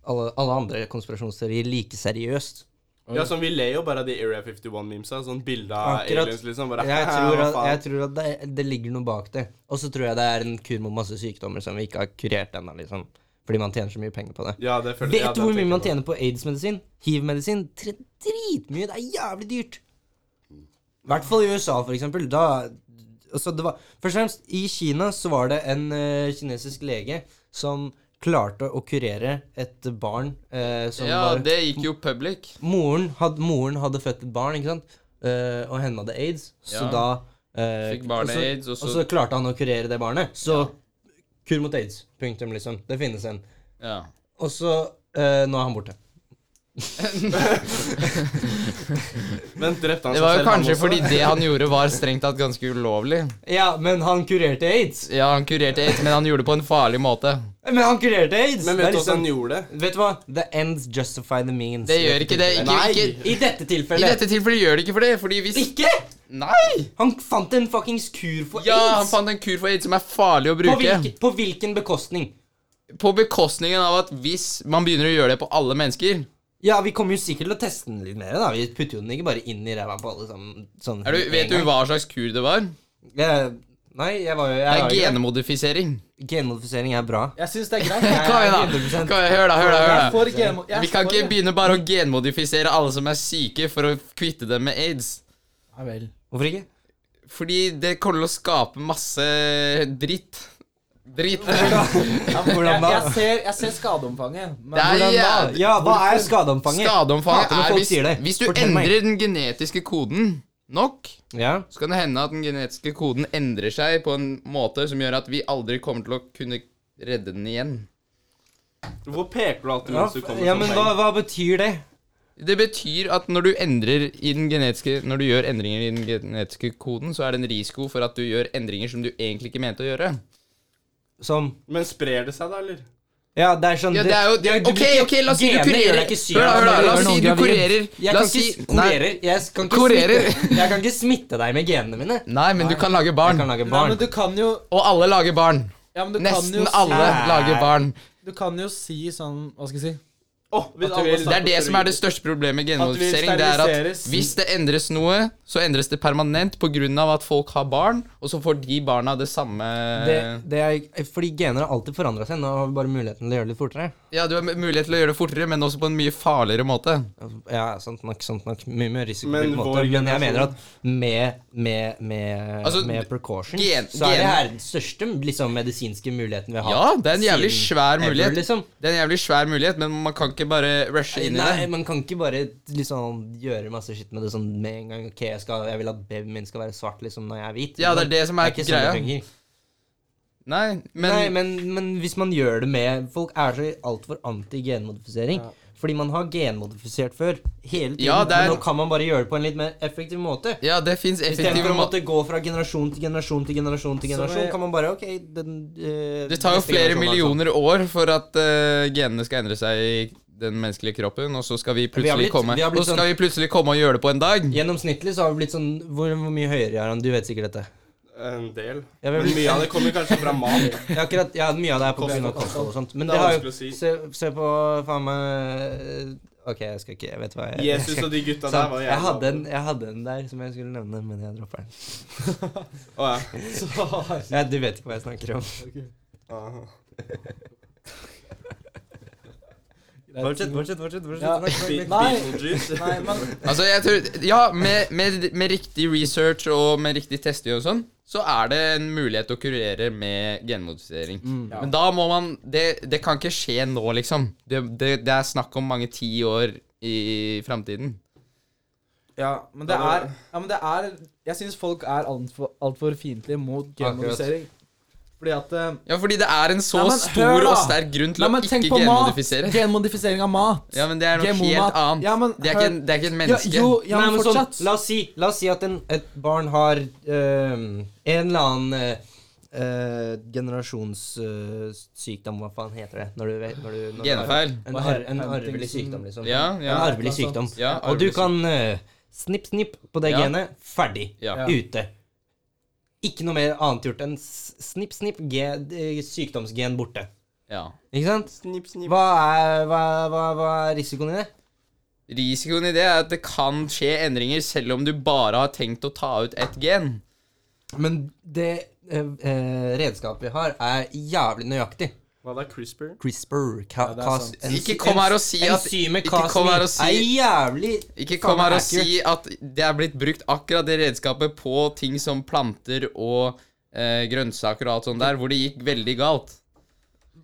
alle, alle andre konspirasjonsserier like seriøst.
Ja, sånn, Vi ler jo bare av de Area 51-memesa. Sånn bilde av
Akkurat.
aliens, liksom. Bare,
Jeg tror
hva
at,
faen?
jeg tror at det, det ligger noe bak det. Og så tror jeg det er en kur mot masse sykdommer som vi ikke har kurert ennå, liksom. Fordi man tjener så mye penger på det.
Ja, det føler
Vet
ja, det
du hvor
tenker
mye
jeg
man
på.
tjener på aids-medisin? Hiv-medisin? Tre- Dritmye! Det er jævlig dyrt! I hvert fall i USA, for eksempel. Da altså det var, Først og fremst, i Kina så var det en eh, kinesisk lege som klarte å kurere et barn eh, som
Ja,
var
det gikk jo public.
moren, had, moren hadde født et barn, ikke sant? Eh, og henne hadde aids. Så
Ja.
da eh,
Fikk barnet
og så-
aids, og så-
Og så klarte han å kurere det barnet. Så kur mot aids. Punktum, liksom. Det finnes en.
Ja.
Og så eh, Nå er han borte.
Men drepte han seg
Det var jo
selv, han
kanskje
også?
fordi det han gjorde, var strengt tatt ganske ulovlig.
Ja, men han kurerte aids!
Ja, han kurerte aids, men han gjorde det på en farlig måte.
Men han kurerte aids!
Men
Det er
vet du hvordan
liksom-
han gjorde det?
Vet du hva? The ends justify the means.
Det gjør ikke det. Ikke,
Nei.
ikke,
I dette
I
tilfellet.
dette tilfellet gjør det ikke for det, fordi hvis
Ikke!
Nei!
Han fant en fuckings kur for
Ja, han
aids!
fant en kur for aids som er farlig å
på,
bruke.
hvilken, på hvilken bekostning?
På bekostningen av at hvis man begynner å gjøre det på alle mennesker
Ja, vi kommer jo sikkert til å teste den litt mer. da Vi putter jo den ikke bare inn i ræva på alle sammen. Sånn,
er du,
med
Vet
en
du hva slags kur det var?
gang. Jeg, nei, jeg var jo
Det
jeg
er
var jo-
genmodifisering.
Genmodifisering er bra.
Jeg syns det er greit.
Kom igjen, da.
100%.
Kom igjen, Hør, da. hør da,
Jeg
hør da.
får gemo- jeg
Vi kan
får
ikke
det.
begynne bare å genmodifisere alle som er syke, for å kvitte dem med aids.
Ja vel.
Hvorfor ikke?
Fordi det kommer til å skape masse dritt. Dritt.
Hvordan
Jeg,
da?
jeg, ser, jeg ser skadeomfanget. Men
Det er
hvordan da?
jæv-
Ja, hva er skadeomfanget?
Skadeomfanget
Hater når
er
folk
hvis,
sier det.
hvis du
Fortell meg.
endrer den genetiske koden nok,
Ja.
så kan det hende at den genetiske koden endrer seg på en måte som gjør at vi aldri kommer til å kunne redde den igjen.
Hvor peker du alltid
Ja,
mens du kommer
ja
sånn
men
vei?
hva, hva betyr det?
Det betyr at når du endrer i den genetiske Når du gjør endringer i den genetiske koden, så er det en risiko for at du gjør endringer som du egentlig ikke mente å gjøre.
Som
Men sprer det seg, da, eller?
Ja, det er sånn
Ja, det er jo
ja, du-
Ok, ok, la oss si du
Gener gjør
kurerer
deg ikke syk.
Hør da, hør da, la oss
Gjør
si
noen
du
gravid.
kurerer
Jeg
La
kan
oss si
ikke kurerer. Jeg kan ikke,
Kurerer.
Smitte. jeg kan ikke smitte deg med genene mine.
Nei, men du kan lage
Jeg
barn.
kan lage
Nei,
barn.
men du kan jo
Og alle lager barn.
ja, men du kan
Nesten
jo
alle
Si,
lager barn.
du kan jo si sånn Hva skal jeg si?
Åh, hvis
At du
alle
vil-
satt
Det er
på
det som er
steroider.
det største problemet med
vil
genmodifisering. Det er at
steriliseres.
hvis det endres noe, så endres det permanent pga. at folk har barn, og så får de barna det samme
det,
Eh.
det er, fordi gener har alltid forandra seg. Nå har vi bare muligheten til å gjøre det litt fortere.
Ja, du har mulighet til å gjøre det fortere, men også på en mye farligere måte.
Ja, sant nok. sant nok Mye mer risiko.
Men
Men, måte.
vår
men jeg
generasjon-
mener at med, med, med,
Altså,
med precautions
gen-
så er
gen-
det her den største liksom, medisinske muligheten vi har.
Ja, det er en jævlig
siden
svær
ever,
mulighet.
liksom.
Det er en jævlig svær mulighet, men man kan ikke bare rushe inn i
Nei,
det.
man kan ikke bare liksom, gjøre masse skitt med det sånn med en gang. Ok, jeg, skal, jeg vil at babyen min skal være svart liksom, når jeg er hvit.
Ja, det er det som er
ikke
greia.
sånn det fungerer.
Nei, men,
Nei, men, men hvis man gjør det med Folk er så altfor anti-genmodifisering. Fordi man har genmodifisert før hele tiden.
Ja, det er-
Men nå kan man bare gjøre det på en litt mer effektiv måte.
Ja, det fins
Istedenfor
effektive
å
måter.
måtte gå fra generasjon til generasjon til generasjon til
Så
generasjon,
jeg-
kan man bare OK den, eh,
Det tar jo
neste generasjon er
flere
sånn.
millioner år for at eh, genene skal endre seg i den menneskelige kroppen, og så skal vi
Vi har
plutselig
blitt-
komme
vi har blitt sånn-
Og så skal vi plutselig komme og gjøre det på en dag.
Gjennomsnittlig så har vi blitt sånn Hvor, hvor mye høyere er han? Du vet sikkert dette.
En del.
Ja, vi har
Men
blitt,
mye av det kommer kanskje fra mat.
ja, akkurat, ja, mye av det er på grunn av kosthold og sånt. Men
Det
det
er
har
vanskelig
jo
å si.
Se, se på faen meg eh, OK, jeg skal ikke Jeg vet hva jeg
Jesus og de gutta der
Sant.
var
jeg, hadde en, jeg hadde en der som jeg skulle nevne, men jeg dropper den.
Å, ja.
Ja, du vet ikke hva jeg snakker om.
Aha.
Fortsett, fortsett, fortsett.
Ja.
fortsett.
Be-
Nei.
Beetlejuice.
Nei, men
Altså, jeg tror Ja, med, med, med riktig research og med riktig testing og sånn, så er det en mulighet å kurere med genmodifisering.
Mm. Ja.
Men da må man det, det kan ikke skje nå, liksom. Det, det, det er snakk om mange ti år i framtiden.
Ja, men det er, ja, men det er Jeg syns folk er altfor alt for fiendtlige mot genmodifisering. Fordi at eh,
Ja, fordi det er en så
Nei, men hør
stor
da!
og sterk grunn til
Nei, men
å
tenk
ikke
på mat!
genmodifisere.
Genmodifisering av mat.
Ja, men det er noe
GMO-mat.
helt annet.
Ja, men
det, er ikke, en- det er ikke et menneske.
Ja, jo, ja,
Nei,
men
men sånn,
fortsatt.
la, oss si, la oss si at en, et barn har øhm, en eller annen eh, generasjonssykdom, eh, hva faen heter det? Når du, vet- når du, når du har-
Genfeil.
En, ar en arvelig sykdom, liksom.
Ja,
En
ja.
arvelig sykdom.
ja
Og du kan øh, snipp, snipp på det
Ja.
genet. Ferdig.
Ja.
Ute. Ikke noe mer annet gjort enn s- snipp, snipp, ge, eh, sykdomsgen borte.
ja.
Ikke sant?
Snipp, snipp.
Hva er, hva, hva, hva er risikoen i det?
Risikoen i det er at det kan skje endringer selv om du bare har tenkt å ta ut ett gen.
Men det eh, eh, redskapet vi har, er jævlig nøyaktig.
Hva da, CRISPR?
CRISPR ka,
Ja, det er
cas-
sant.
ens-
Ikke kom her og si at
Enzymet
Ikke kom her
Cas9
og si-
er jævlig
Ikke
Faen,
kom her og
accurate.
si at det er blitt brukt akkurat det redskapet på ting som planter og eh, grønnsaker og alt sånt der, hvor det gikk veldig galt.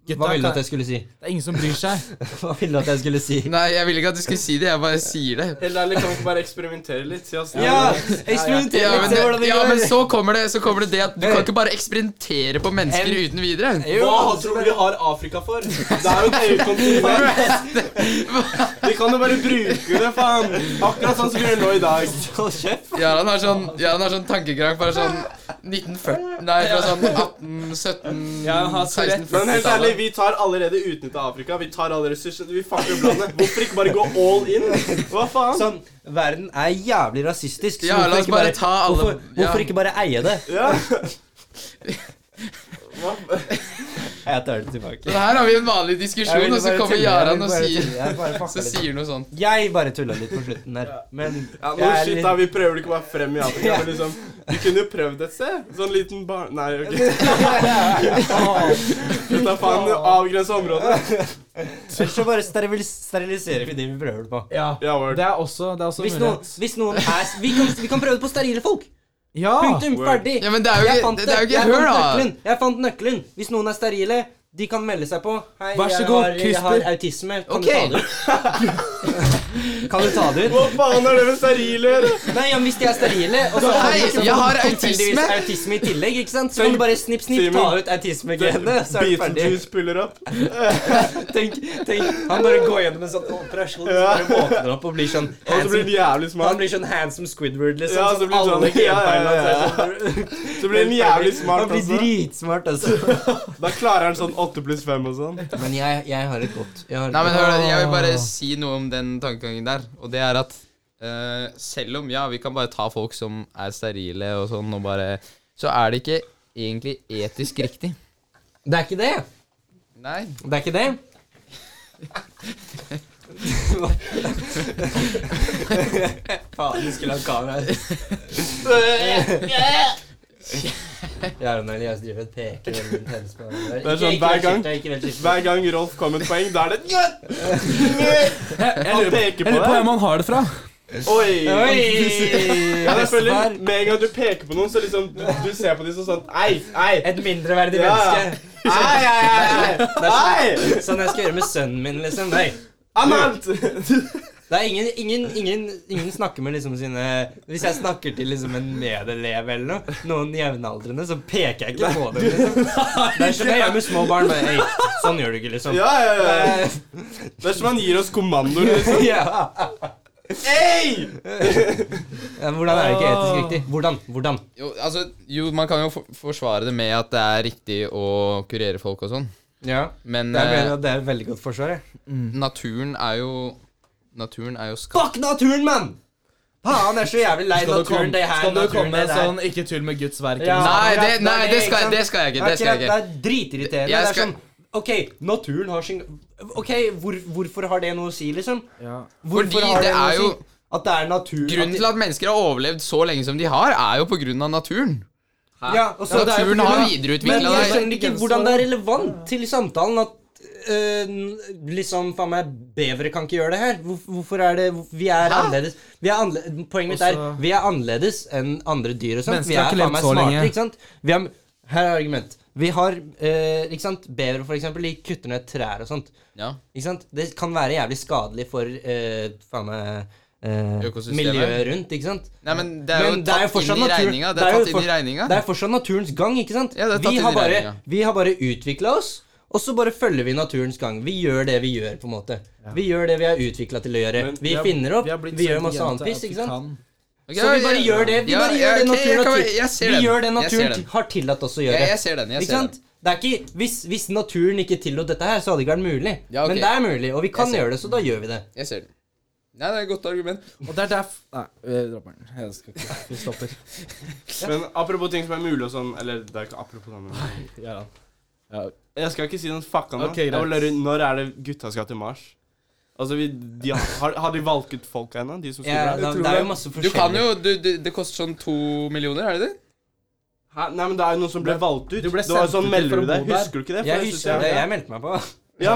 Hva ville du at jeg skulle si?
Det er ingen som bryr seg.
Hva ville du at jeg skulle si?
Nei, jeg ville ikke at du skulle si det, jeg bare sier det.
Eller eller kan vi ikke bare eksperimentere litt? Si altså, oss
Ja! Eksperimenter!
Ja, men,
se hvordan
det,
det
ja,
går.
men så kommer det så kommer det, det at du kan ikke bare eksperimentere på mennesker uten videre.
Hva tror du vi har Afrika for? Det er jo et EU-kontinent. Vi kan jo bare bruke det, faen. Akkurat sånn som vi gjør nå i dag.
Hold kjeft!
Jaran har sånn, Jaran har sånn tankekrang fra sånn 1940 Nei, fra sånn 1817
Ja, han har så rett.
Men helt ærlig,
1640-tallet.
vi tar allerede utnytta Afrika. Vi tar alle ressursene. Vi fucker opp landet. Hvorfor ikke bare gå all in? Hva faen?
Sånn, verden er jævlig rasistisk. så
Ja,
hvorfor
la oss
ikke
bare ta alle
Hvorfor, hvorfor
ja.
ikke bare eie det?
Ja. Hva?
Jeg tar det tilbake.
Men her har vi en vanlig diskusjon, og så kommer Jaran og sier Så
sier
sier noe sånt.
Jeg bare tulla litt på slutten der. Men
Ja,
jeg
no
er
shit,
litt-
da. Vi prøver det ikke bare frem i Afrika. Men liksom, vi kunne jo prøvd et sted. Sånn liten barn... Nei, ok. Gutta, faen. Avgrensa området.
Ellers så bare steril- steriliserer vi de vi prøver det på.
Ja.
Ja, word.
Det er også, det er også
Hvis
mulighet.
noen, hvis noen er vi kan, vi kan prøve det på sterile folk!
Ja!
Punktum,
Word.
ferdig!
Ah, Ja, men det er jo
Jeg
ikke,
fant
det er jo ikke
jeg
hør,
fant
da.
nøkkelen. Jeg fant nøkkelen! Hvis noen er sterile, de kan melde seg på. Hei,
Vær så
jeg,
god,
har, jeg
CRISPR.
har autisme. Kan
Ok.
du ta det ut? kan du ta det ut?
Hva faen er det med sterile å gjøre?
Nei, ja, men hvis de er sterile, og så
Hei,
de ikke
jeg har
tilfeldigvis
autisme.
autisme i tillegg, ikke sant? så kan du bare snipp, snipp, ta
Simon.
ut autismegenet, så er du ferdig.
Beetlejuice puller opp.
Tenk, tenk, han bare går gjennom en sånn operasjon, så bare våkner han opp og blir sånn
Og så blir
handsome
den jævlig
Han
smart.
blir sånn handsome Squidward, liksom.
Ja, så
sånn
blir han
alle
sånn- ja, ja, ja,
gamefeilene hans
ja.
er sånn.
Så blir den jævlig smart
Han blir
også.
dritsmart, altså.
Da klarer han sånn 8 pluss 5 og sånn.
Men jeg, jeg har et godt jeg har et
Nei, men hør,
godt-
jeg vil bare si noe om den tankegangen der. Og det er at eh, selv om, ja, vi kan bare ta folk som er sterile og sånn, og bare Så er det ikke egentlig etisk riktig.
Det er ikke det.
Nei.
Det er ikke det. Faen, du skulle ha kamera Jarand og Elias driver og peker veldig intenst på hverandre.
Det
Ikke-
er sånn
ikke
hver
vær
gang-
skiftet, ikke vær skiftet.
Hver gang Rolf kom et poeng, da er det Han
Jeg
peker på
lurer på hvem
deg.
han har det fra.
Oi!
Oi!
Ja, jeg føler Med en gang du peker på noen, så liksom du, du ser på dem som sånn Ei, ei,
Et mindreverdig
Ja.
menneske.
ei, ei, ei, ei.
Sånn jeg skal gjøre med sønnen min, liksom. Nei.
Amant!
Det er ingen, ingen, ingen, ingen snakker med liksom sine Hvis jeg snakker til liksom en medelev eller noe, noen jevnaldrende, så peker jeg ikke på dem. liksom Det er som jeg gjør med små barn. Bare, «Ei, sånn gjør du ikke, liksom.
Ja, ja, ja. Det er som han gir oss kommandoer. Liksom.
Ja.
Ei!
Ja, men Hvordan er det ikke
Ah.
etisk riktig? Hvordan? Hvordan?
Jo, altså, jo, man kan jo for forsvare det med at det er riktig å kurere folk og sånn.
Ja.
Men
Det er,
eh,
bare- det er et veldig godt forsvar, jeg.
naturen er jo Naturen er jo skapt
Fuck naturen, mann! Faen, jeg er så jævlig lei
Skal du
naturen.
komme,
Det her,
skal du komme
naturen, det
med
der.
sånn 'ikke tull med Guds verk'? liksom.
Ja.
Nei, det,
akkurat,
nei,
det er
det,
ikke
skal,
sant.
det skal jeg ikke. Det skal jeg ikke.
Akkurat, Det er dritirriterende.
Jeg
Det
skal-
er sånn OK, naturen har sin OK, hvor, hvorfor har det noe å si, liksom? Hvorfor
Fordi
har
det
noe å
er jo
si? At det er natur at
Grunnen
de-
til at mennesker har overlevd så lenge som de har, er jo på grunn av naturen.
ja, og så- det er jo på
Naturen
grunn
har
av- Men
videreutvikla
jeg
deg.
skjønner ikke hvordan det er relevant til samtalen at øh, liksom, faen meg, bevere kan ikke gjøre det her. Hvor, hvorfor er det Vi er annerledes. Vi er annerle- Poenget mitt er
Også-
vi er annerledes enn andre dyr og sånt.
Mennesker
Vi
har
er
ikke
faen
levd
meg
så
smartere,
lenge.
ikke sant? Vi har, her er argument. Vi har øh, ikke sant? Bevere, for eksempel, de kutter ned trær og sånt.
Ja.
Ikke sant? Det kan være jævlig skadelig for øh, faen meg øh,
Økosystemet.
miljøet rundt, ikke sant?
Nei, men det er jo
Men det er jo
tatt
fortsatt
inn i
natur-
regninga. Det
det er
er
jo
tatt inn
for-
i regninga.
Det er fortsatt naturens gang, ikke sant?
Ja, det er tatt
vi,
inn i
har bare,
regninga.
vi har bare utvikla oss, og så bare følger vi naturens gang. Vi gjør det vi gjør, på en måte. Vi gjør det vi er utvikla til å gjøre.
Men
vi
har-
finner opp,
har
vi,
blitt så
gjør masse
intelligente
annet piss,
at vi
ikke sant?
kan.
Ok,
Så vi bare
ja,
gjør det vi
ja,
bare
ja,
gjør det
ok, jeg
naturen
kan
har
være-
til-
Jeg ser
vi
den.
gjør det
Jeg ser
naturen
den.
til- har tillatt oss å
Ja,
gjøre.
jeg ser den. Jeg
ikke
ser den.
sant? Det er ikke, hvis, hvis naturen ikke tillot dette her, så hadde det ikke vært mulig.
Ja, ok.
Men det er mulig, og vi kan
ser
gjøre det, så da gjør vi det.
Jeg ser den. Nei, det er et godt argument.
Og det er derf... Nei, vi dropper den. Jeg skal ikke. Vi stopper.
Men apropos ting som er mulig og sånn Eller det er ikke apropos det, men
Ja,
Jeg skal ikke si noen fucka nå.
Ok,
Jeg vil
greit.
høre, når er det gutta skal til Mars? Altså, vi, de har, har- har de valgt ut folk ennå, de som skulle
Ja,
der?
da,
tror
det er jo
det.
masse
Du kan
forskjellig.
jo du, du, Det koster sånn to millioner, er det det?
Hæ? Nei, men det er jo noen som ble
Du-
valgt ut.
du ble
det var jo
sendt
sånn,
ut for
melder
å
du deg?
bo der.
Husker du ikke det? For
Jeg
jeg
husker
synes
det, jeg
jeg-
meldte meg på.
Ja,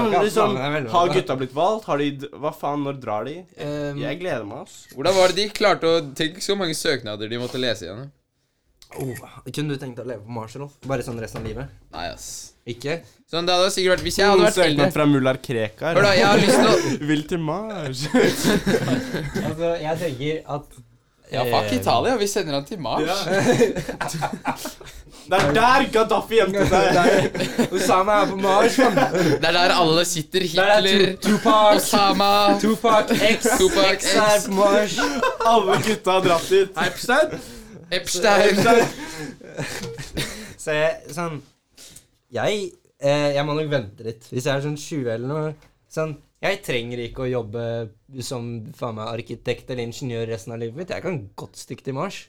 men
Jeg
liksom,
kan velge meg
har
da.
gutta blitt valgt? Har de Hva faen, når drar de?
Ehm,
Jeg gleder meg, ass.
Hvordan var det de klarte å Tenk så mange søknader de måtte lese igjen.
oh, kunne du tenkt deg å leve på Mars, Rolf? Bare sånn resten av livet?
Nei, ass.
Ikke?
Sånn, det hadde sikkert vært Hvis jeg hadde vært
Søknad
eldre
fra Mullar Krekar.
Hør da, jeg har lyst til å
Vil til Mars.
Altså, jeg tenker at
Ja, fuck Italia. Vi sender han til Mars.
Det er der Gaddafi gjemte seg.
Osama er på Mars, mann.
Det er der alle sitter. Hitler,
Tupac,
Osama
Tupac X.
Tupac
X er
X.
på Mars.
Alle gutta har dratt dit. Epstein?
Epstein.
Så jeg sånn Jeg eh, Jeg må nok vente litt. Hvis jeg er sånn 20 eller noe sånn Jeg trenger ikke å jobbe som faen meg arkitekt eller ingeniør resten av livet mitt. Jeg kan godt stikke til Mars.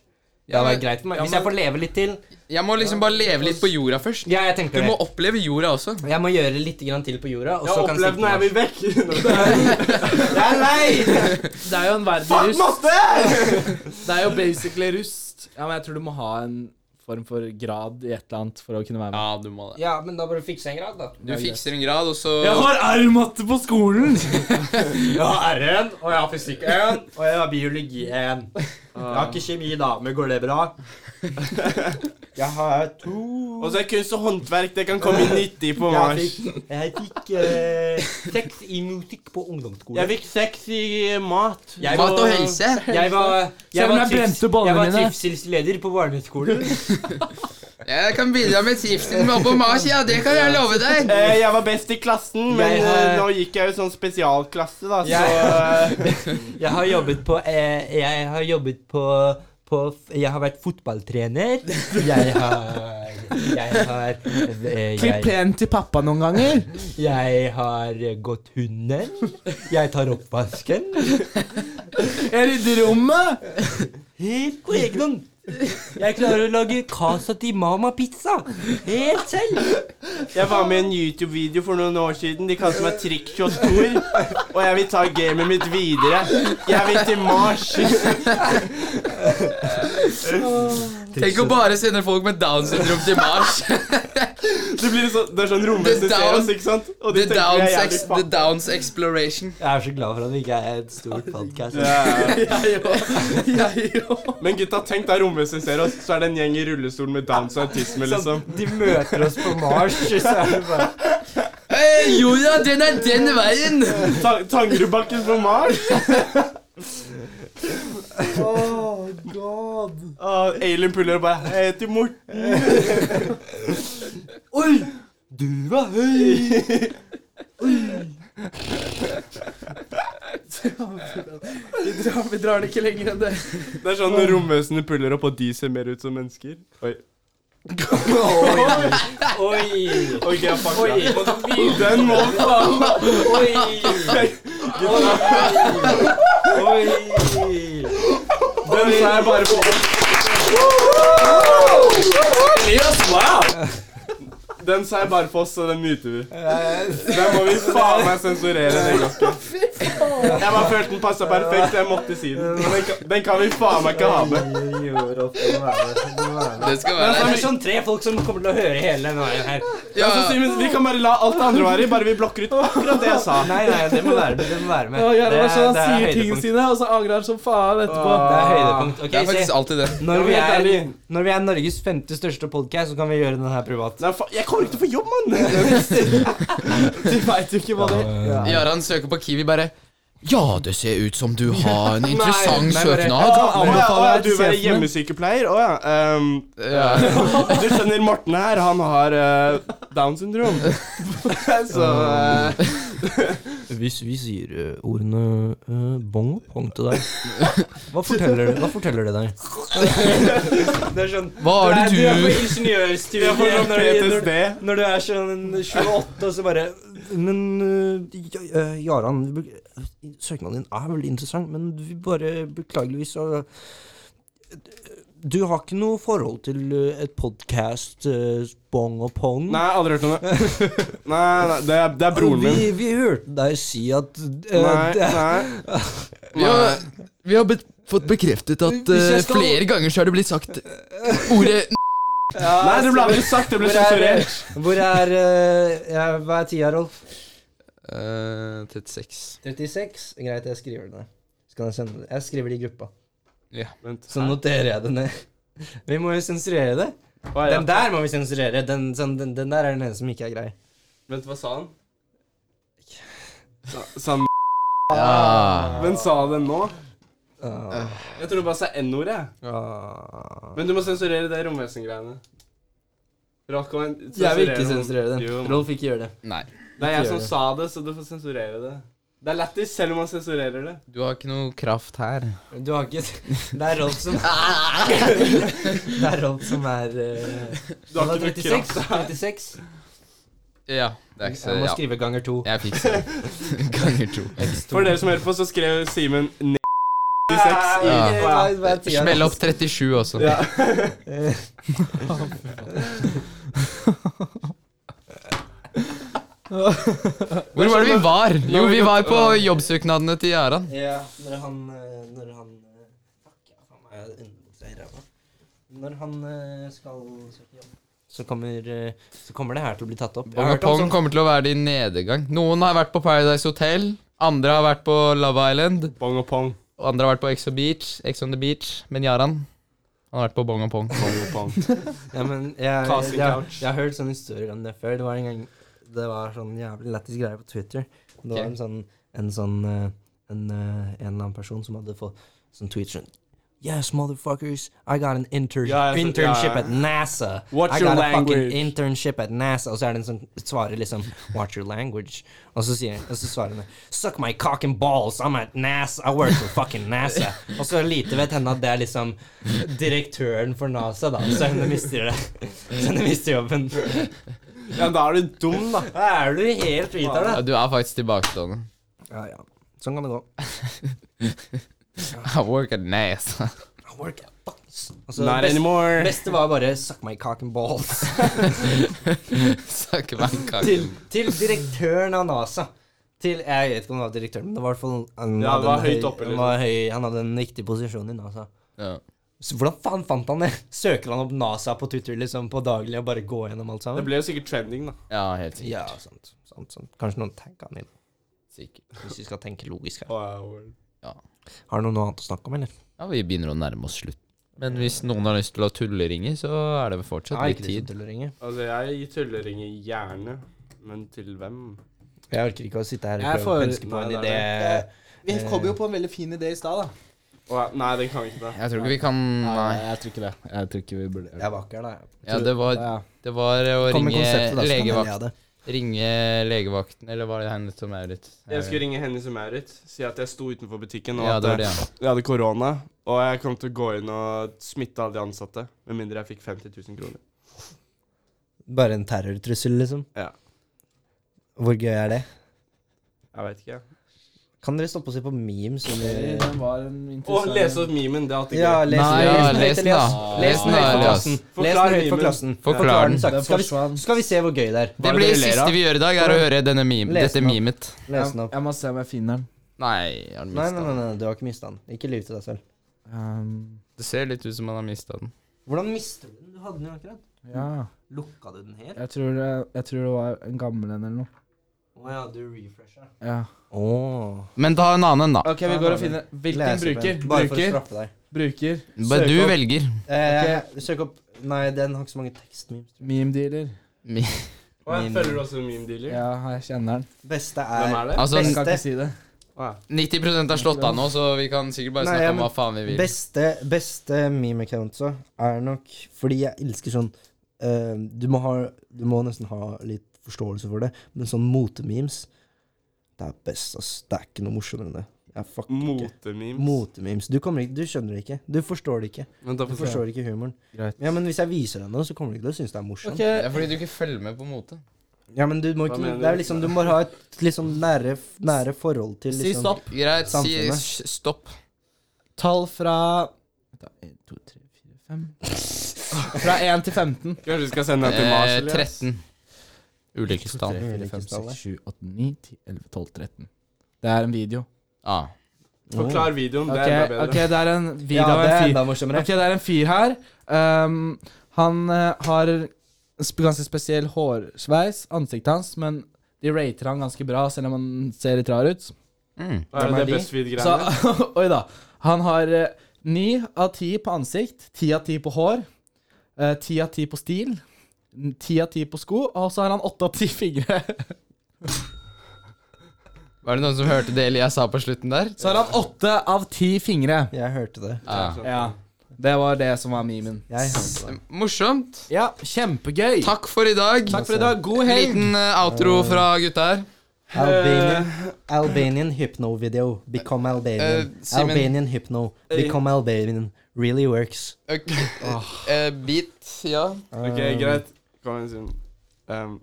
Det
Ja,
hadde
men-
vært greit for meg.
ja,
Hvis jeg
men-
får leve litt til
Jeg må liksom bare leve litt på jorda først.
Ja, jeg
Du
tenker
må
det.
oppleve jorda også.
Jeg må gjøre litt grann til på jorda, og
Jeg
så
har
kan jeg
opplevd
stikke
når jeg
til
vil vekk. Jeg er lei!
Det er jo en verden i
Fuck
rust.
matte!
Det er jo basically rust. Ja, men jeg tror du må ha en form for grad i et eller annet for å kunne være med.
Ja, du må
Mars.
det.
Ja, men da bør du fikse en grad, da.
Du fikser en grad, og så
R-matte på skolen!
Jeg har R1, og jeg har fysikk 1, og jeg har biologi 1. Jeg har ikke kjemi, da, men går det bra? Jeg har to
Og så er kunst og håndverk. Det kan komme i 90 på
Jeg
Mars.
fikk, jeg fikk eh, seks i musikk på ungdomsskolen.
Jeg fikk sex i mat.
Jeg
Mat og
var-
helse.
Jeg var,
Selv
jeg
om
var,
jeg
tips-
brente ballene
jeg var
mine.
tipsilsleder på barneskolen.
Jeg kan bidra med tipsen med opp på Mars, ja, det kan jeg love deg.
Eh, jeg var best i klassen, men
Jeg har-
eh, nå gikk jeg jo sånn spesialklasse, da, så eh,
Jeg har jobbet på eh, Jeg har jobbet på på, f- jeg har vært fotballtrener. Jeg har Jeg har eh, jeg-
Klipp plenen til pappa noen ganger.
Jeg har gått hunden. Jeg tar oppvasken.
Jeg rydder rommet.
Helt på egen hånd. Jeg klarer å lage casa til mamma-pizza helt selv.
Jeg var med i en YouTube-video for noen år siden. De kalte meg Trickshot Tor. Og jeg vil ta gamet mitt videre. Jeg vil til Mars.
Tenk å bare sende folk med Downs syndrom til Mars.
Det, blir så, det er sånn
The
romvesen ser
down-
oss, ikke sant? Og de
The
tenker vi
Downs,
er jævlig
ex the
fucked.
downs Exploration.
Jeg er så glad for at vi ikke er et stort podcast.
Ja.
Jeg òg. Jeg òg.
Men gutta, tenk deg romvesen ser oss, så er det en gjeng i rullestol med Downs og autisme, liksom.
De møter oss på Mars, så er det bare
Hey, jorda, den er den veien.
Ta Tangerudbakken på Mars.
Oh, God.
Og Ah, Alien puller og bare Hei, til Morten.
Oi! Du var høy!
Vi drar, vi drar det ikke lenger enn det.
Det er sånn romvesenet puller opp, og de ser mer ut som mennesker. Oi.
Oi!
Ok, fuck
Oi!
det.
Den må faen Oi! Oi! Oi!
Den sa jeg bare på Elias, wow! Den sa jeg bare på oss, så den muter vi. Den må vi faen meg sensurere den gangen. Jeg bare følte den passa perfekt, så jeg måtte si den. Men den kan, den kan vi faen meg ikke ha med.
Det skal
Det
være
er sånn tre folk som kommer til å høre hele denne veien her.
ja,
Så sier vi, vi kan bare la alt det andre være i, bare vi blokker ut akkurat det jeg sa.
Nei, nei, det må være med. Det må være med.
Ja, Jarl
Det
er
er-
sånn,
det
han
er
sier tingene
høydepunkt.
sine, og så angrer han som faen etterpå. Ah,
Det er høydepunkt.
Det er
Ok,
faktisk
se.
alltid det.
Når vi
Ja, men helt
er,
ærlig.
når vi er Norges femte største podkast, så kan vi gjøre den her privat.
Nei, fa jeg kommer ikke til å få jobb, mann!
De veit jo ikke hva det er.
Jaran søker på Kiwi bare Ja, det ser ut som du har en interessant
nei, bare-
Å
søknad.
ja, å ja,
anbefaler
du
til sjefen
være
min.
hjemmesykepleier? Å ja. ehm,
Ja.
Du skjønner, Morten her, han har eh, Down syndrom. Så eh,
Hvis vi sier ordene eh, bong og pong til deg, hva forteller, det deg? Det er sånn
Hva er det
er på
du
Jeg får
ingeniørstudiet
sånn
når, du- når,
PTSD.
når du er sånn 28, og så bare Men eh, Ja- eh, Jaran, vi be- søknaden din er veldig interessant, men vi bare beklageligvis så Du har ikke noe forhold til eh, et podkast, bong og pong?
Nei, aldri hørt om det. Nei, nei det, er, det er broren min.
Vi, vi hørte deg si at eh,
Nei,
det-
nei.
Vi har, vi har be fått bekreftet at
Hvis jeg
eh,
skal-
flere ganger så har det blitt sagt ordet
Nei, det ble aldri sagt. Det ble
Hvor Ah, er, eh,
sensurert.
hvor er eh, ja, Hva er tida, Rolf?
Eh, 36.
36? Greit, jeg skriver det ned. Så kan jeg sende det. Jeg skriver det i gruppa.
Vent.
Så noterer jeg det ned. Vi må jo sensurere det.
Å, ja.
Den der må vi sensurere. Den, sånn, den, den der er den eneste som ikke er grei.
Vent, hva sa han? Sa han
Ja.
Men sa han den nå?
Ah,
Jeg tror det bare sa N-ordet. jeg.
ah.
Men du må sensurere det romvesen-greiene. Rolf, kom igjen,
Jeg vil
sensurer
ikke
noe.
sensurere den.
Jo,
Rolf, ikke gjør det.
Nei.
Det er jeg som
gjør det.
sa det, så du får sensurere det. Det er lættis selv om man sensurerer det.
Du har ikke noe kraft her.
Du har ikke Det er Rolf som Det er Rolf som er eh,
Du har
han
ikke
er
noe kraft.
36. 36.
Ja, det er ikke så
Jeg må
ja.
skrive ganger to.
Jeg fikser det. Ganger to.
For dere som hører på, så skrev Simen n- 96 i
Ja.
Hva er- hva er tida?
Smell opp 37 også.
Ja.
Hvor var det vi var? Jo, vi var på jobbsøknadene til Jaran.
Ja, når han eh, Når han eh, Fuck, ja, faen meg, jeg hadde underbuksa i ræva. Når han eh, skal søke jobb, så kommer, eh, så kommer det her til å bli tatt opp. Jeg har
Bong
hørt om
Pong
sånn-
kommer til å være det i nedgang. Noen har vært på Paradise Hotel. Andre har vært på Love Island.
Bong og pong.
Og andre har vært på Ex on Beach. Ex on the Beach. Men Jaran, han har vært på Bong og Pong.
Bong og pong.
Ja, men jeg, jeg,
Casting
jeg,
couch.
jeg har hørt sånne historier om det før. Det var en gang Det var sånn jævlig lættis greie på Twitter. Det var
Ok.
en sånn En sånn eh, en, eh, en eller annen person som hadde fått sånn tweet sånn Yes, motherfuckers, I got an intern
Ja, jeg så-
internship
ja, ja.
at NASA.
What's
I
your
got a fucking
language?
internship at NASA. Og så er det en som svarer liksom What's your language? Og så, sier, og så svarer hun Suck my cock and balls, I'm at NASA. I work for fucking NASA. Og så lite vet henne at det er liksom direktøren for NASA, da. Så henne mister det. Så henne mister jobben.
Ja, da er du dum, da.
Da er du helt hvit av det.
Ja, du er faktisk tilbakestående.
Ja, ja. Sånn kan det gå.
I work at NASA.
I work at fucking Og så
Not
best-
anymore.
Beste var bare 'suck my cock and balls'
Suck my cock.
til, til direktøren av NASA. Til, jeg vet ikke om han var direktøren, men det var i hvert fall han,
Ja, det
hadde en
var høyt
høy-
oppe,
han,
liksom.
var høy, han hadde en viktig posisjon i NASA.
Ja.
Så hvordan faen fant han det? Søker han opp NASA på Twitter liksom på daglig og bare går gjennom alt
Det
sammen?
ble jo sikkert trending, da.
ja, helt sikkert.
Ja, sant, sant, sant. Kanskje noen tagger han i det,
sikkert.
hvis vi skal tenke logisk her.
Wow.
Har du noe annet å snakke om, eller?
Ja, vi begynner å nærme oss slutt. Men hvis noen har lyst til å tulleringe, så er det fortsatt litt
liksom.
tid.
tid.
Altså, jeg tulleringer gjerne. Men til hvem?
Jeg orker ikke å sitte her og
Jeg
prøve å
får-
penske på
Nei,
en
det er
idé.
Vi kom jo på en veldig fin idé i stad, da.
Å, ja, nei, den kan vi ikke da.
Jeg tror ikke vi kan Nei.
jeg tror ikke det. Jeg tror ikke vi burde
Jeg var ikke her, da.
Ja, det var,
Ja.
det var å
Kom med konseptet, da. så kan
ringe
hende jeg
legevakt.
hadde-
Ringe legevakten, eller var det henne som er litt
Jeg skulle ringe Hennes og Maurits, si at jeg sto utenfor butikken, og
Ja,
at
det var det,
jeg-
ja.
jeg hadde korona. Og jeg kom til å gå inn og smitte alle de ansatte. Med mindre jeg fikk 50 000 kroner.
Bare en terrortrussel, liksom?
Ja.
Hvor gøy er det?
Jeg vet ikke.
Kan dere stoppe og se på memes? Eller?
Det var en
Å,
interessant
lese opp memen, det hadde ikke
Ja,
jeg.
les,
Nei,
les,
ja,
den
les
høyt,
den,
Elias.
da.
Les den
Forklar
høyt for
memen.
klassen. Les
Forklar
den høyt for
memen.
klassen.
Forklar
Forklar
den.
den sakte.
Den
Skal,
forsvant.
vi- skal vi se hvor gøy det er.
Det
er det
blir
dere
det
ler
siste
av?
vi gjør i dag, er å høre denne meme,
Les
dette
den opp.
memet.
Les den opp.
Jeg må se om jeg finner den.
Nei, har den
Nei, nei,
mista
nei,
den?
nei, du har ikke mista den. Ikke lyv til deg selv.
Um,
Det ser litt ut som han har mista den.
Hvordan mister du den? Du hadde den jo akkurat.
ja.
Lukka du den helt?
Jeg tror, det, jeg tror det var en gammel en eller noe.
Å ja, du refresha.
Ja.
Åh.
Men ta en annen, da.
Ok, vi går og finner Hvilken bruker?
Bare for å
Bruker?
straffe deg.
Bruker?
Bare du
Søk opp
velger.
Eh, Søk opp Nei, den har ikke så mange tekstmemes.
meme-dealer.
Å, jeg
Meme.
følger du også meme-dealer?
Ja, jeg kjenner den.
Beste
Hvem
er
er det?
Altså,
Jeg kan
Beste.
ikke si det.
90 har slått av nå, så vi kan sikkert bare
Nei,
snakke
ja,
om
men
hva faen vi vil.
Beste, beste meme accountsa er nok Fordi jeg elsker sånn eh, du, må ha, du må nesten ha litt forståelse for det, men sånn motememes Det er best, ass. Det er ikke noe morsommere enn det. Jeg fucker ikke.
Motememes.
Motememes. Du, kommer ikke- du skjønner det ikke. Du forstår det ikke.
Vent, da
Du
får jeg se.
forstår ikke humoren.
Greit.
Ja, Men hvis jeg viser deg noe, så kommer du ikke til å synes det er morsomt.
Det er fordi du ikke følger med på mote.
Ja, men du må
Hva
ikke
mener
Det er
du?
liksom Du må ha et liksom nære, nære forhold til liksom
Si stopp.
Greit, si
Samfunnet.
s- stopp.
Tall fra Vent da, en, to, tre, fire, fem. Fra 1 til 15.
Kanskje vi skal sende den til Mars?
Eh,
eller?
13. Ulykkestall.
4, 5, 6,
Ulykkestallet.
7, 8, 9, 10, 11, 12, 13. Det er en video.
Ah.
Forklar videoen,
Ok,
det er enda bedre.
ok, det er en video
Ja,
av
det er
en fyr.
enda morsommere.
Ok, det er en fyr her. Ehm, han eh, har en sp- ganske spesiell hårsveis, ansiktet hans, men de rater han ganske bra, selv om han ser litt rar ut.
Mm.
Hva er
Hvem
det
er de?
best
Så,
feed-greiene?
oi da. Han har eh, ni av ti på ansikt, ti av ti på hår, eh, ti av ti på stil, n- ti av ti på sko, og så har han åtte av ti fingre.
Var det noen som hørte det jeg sa på slutten der?
Så har han åtte av ti fingre.
Jeg hørte det.
Ah.
Ja. Det var det som var memen.
Jeg hørte det.
Morsomt.
Ja, kjempegøy.
Takk for i dag.
Takk for i dag. God helg.
Liten eh, outro fra gutta her. Eh,
Albanian, Albanian hypno video. Become Albanian.
Eh, Simen. Eh,
Albanian hypno. Become Albanian. Really works.
Ok. Eh, beat, ja.
Ok, greit. Kom
Eh.
igjen, Simen. Um,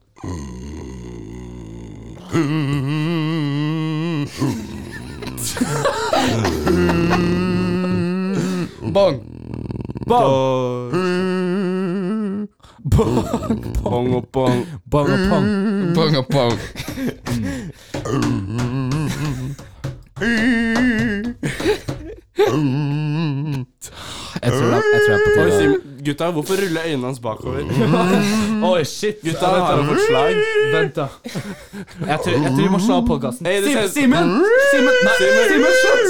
Bong.
bong! Bong og bong.
Bong og pong.
Bong og bong.
Jeg tror det, jeg tror det er på
Oi,
tide.
Simen, gutta, hvorfor ruller øynene hans bakover?
Oi, shit.
Gutta, dette har fått slag.
Vent, da. Jeg tror, jeg tror vi må slå av podkasten.
Hey, det ser-
Simen! Simen! Nei, Simen, slutt!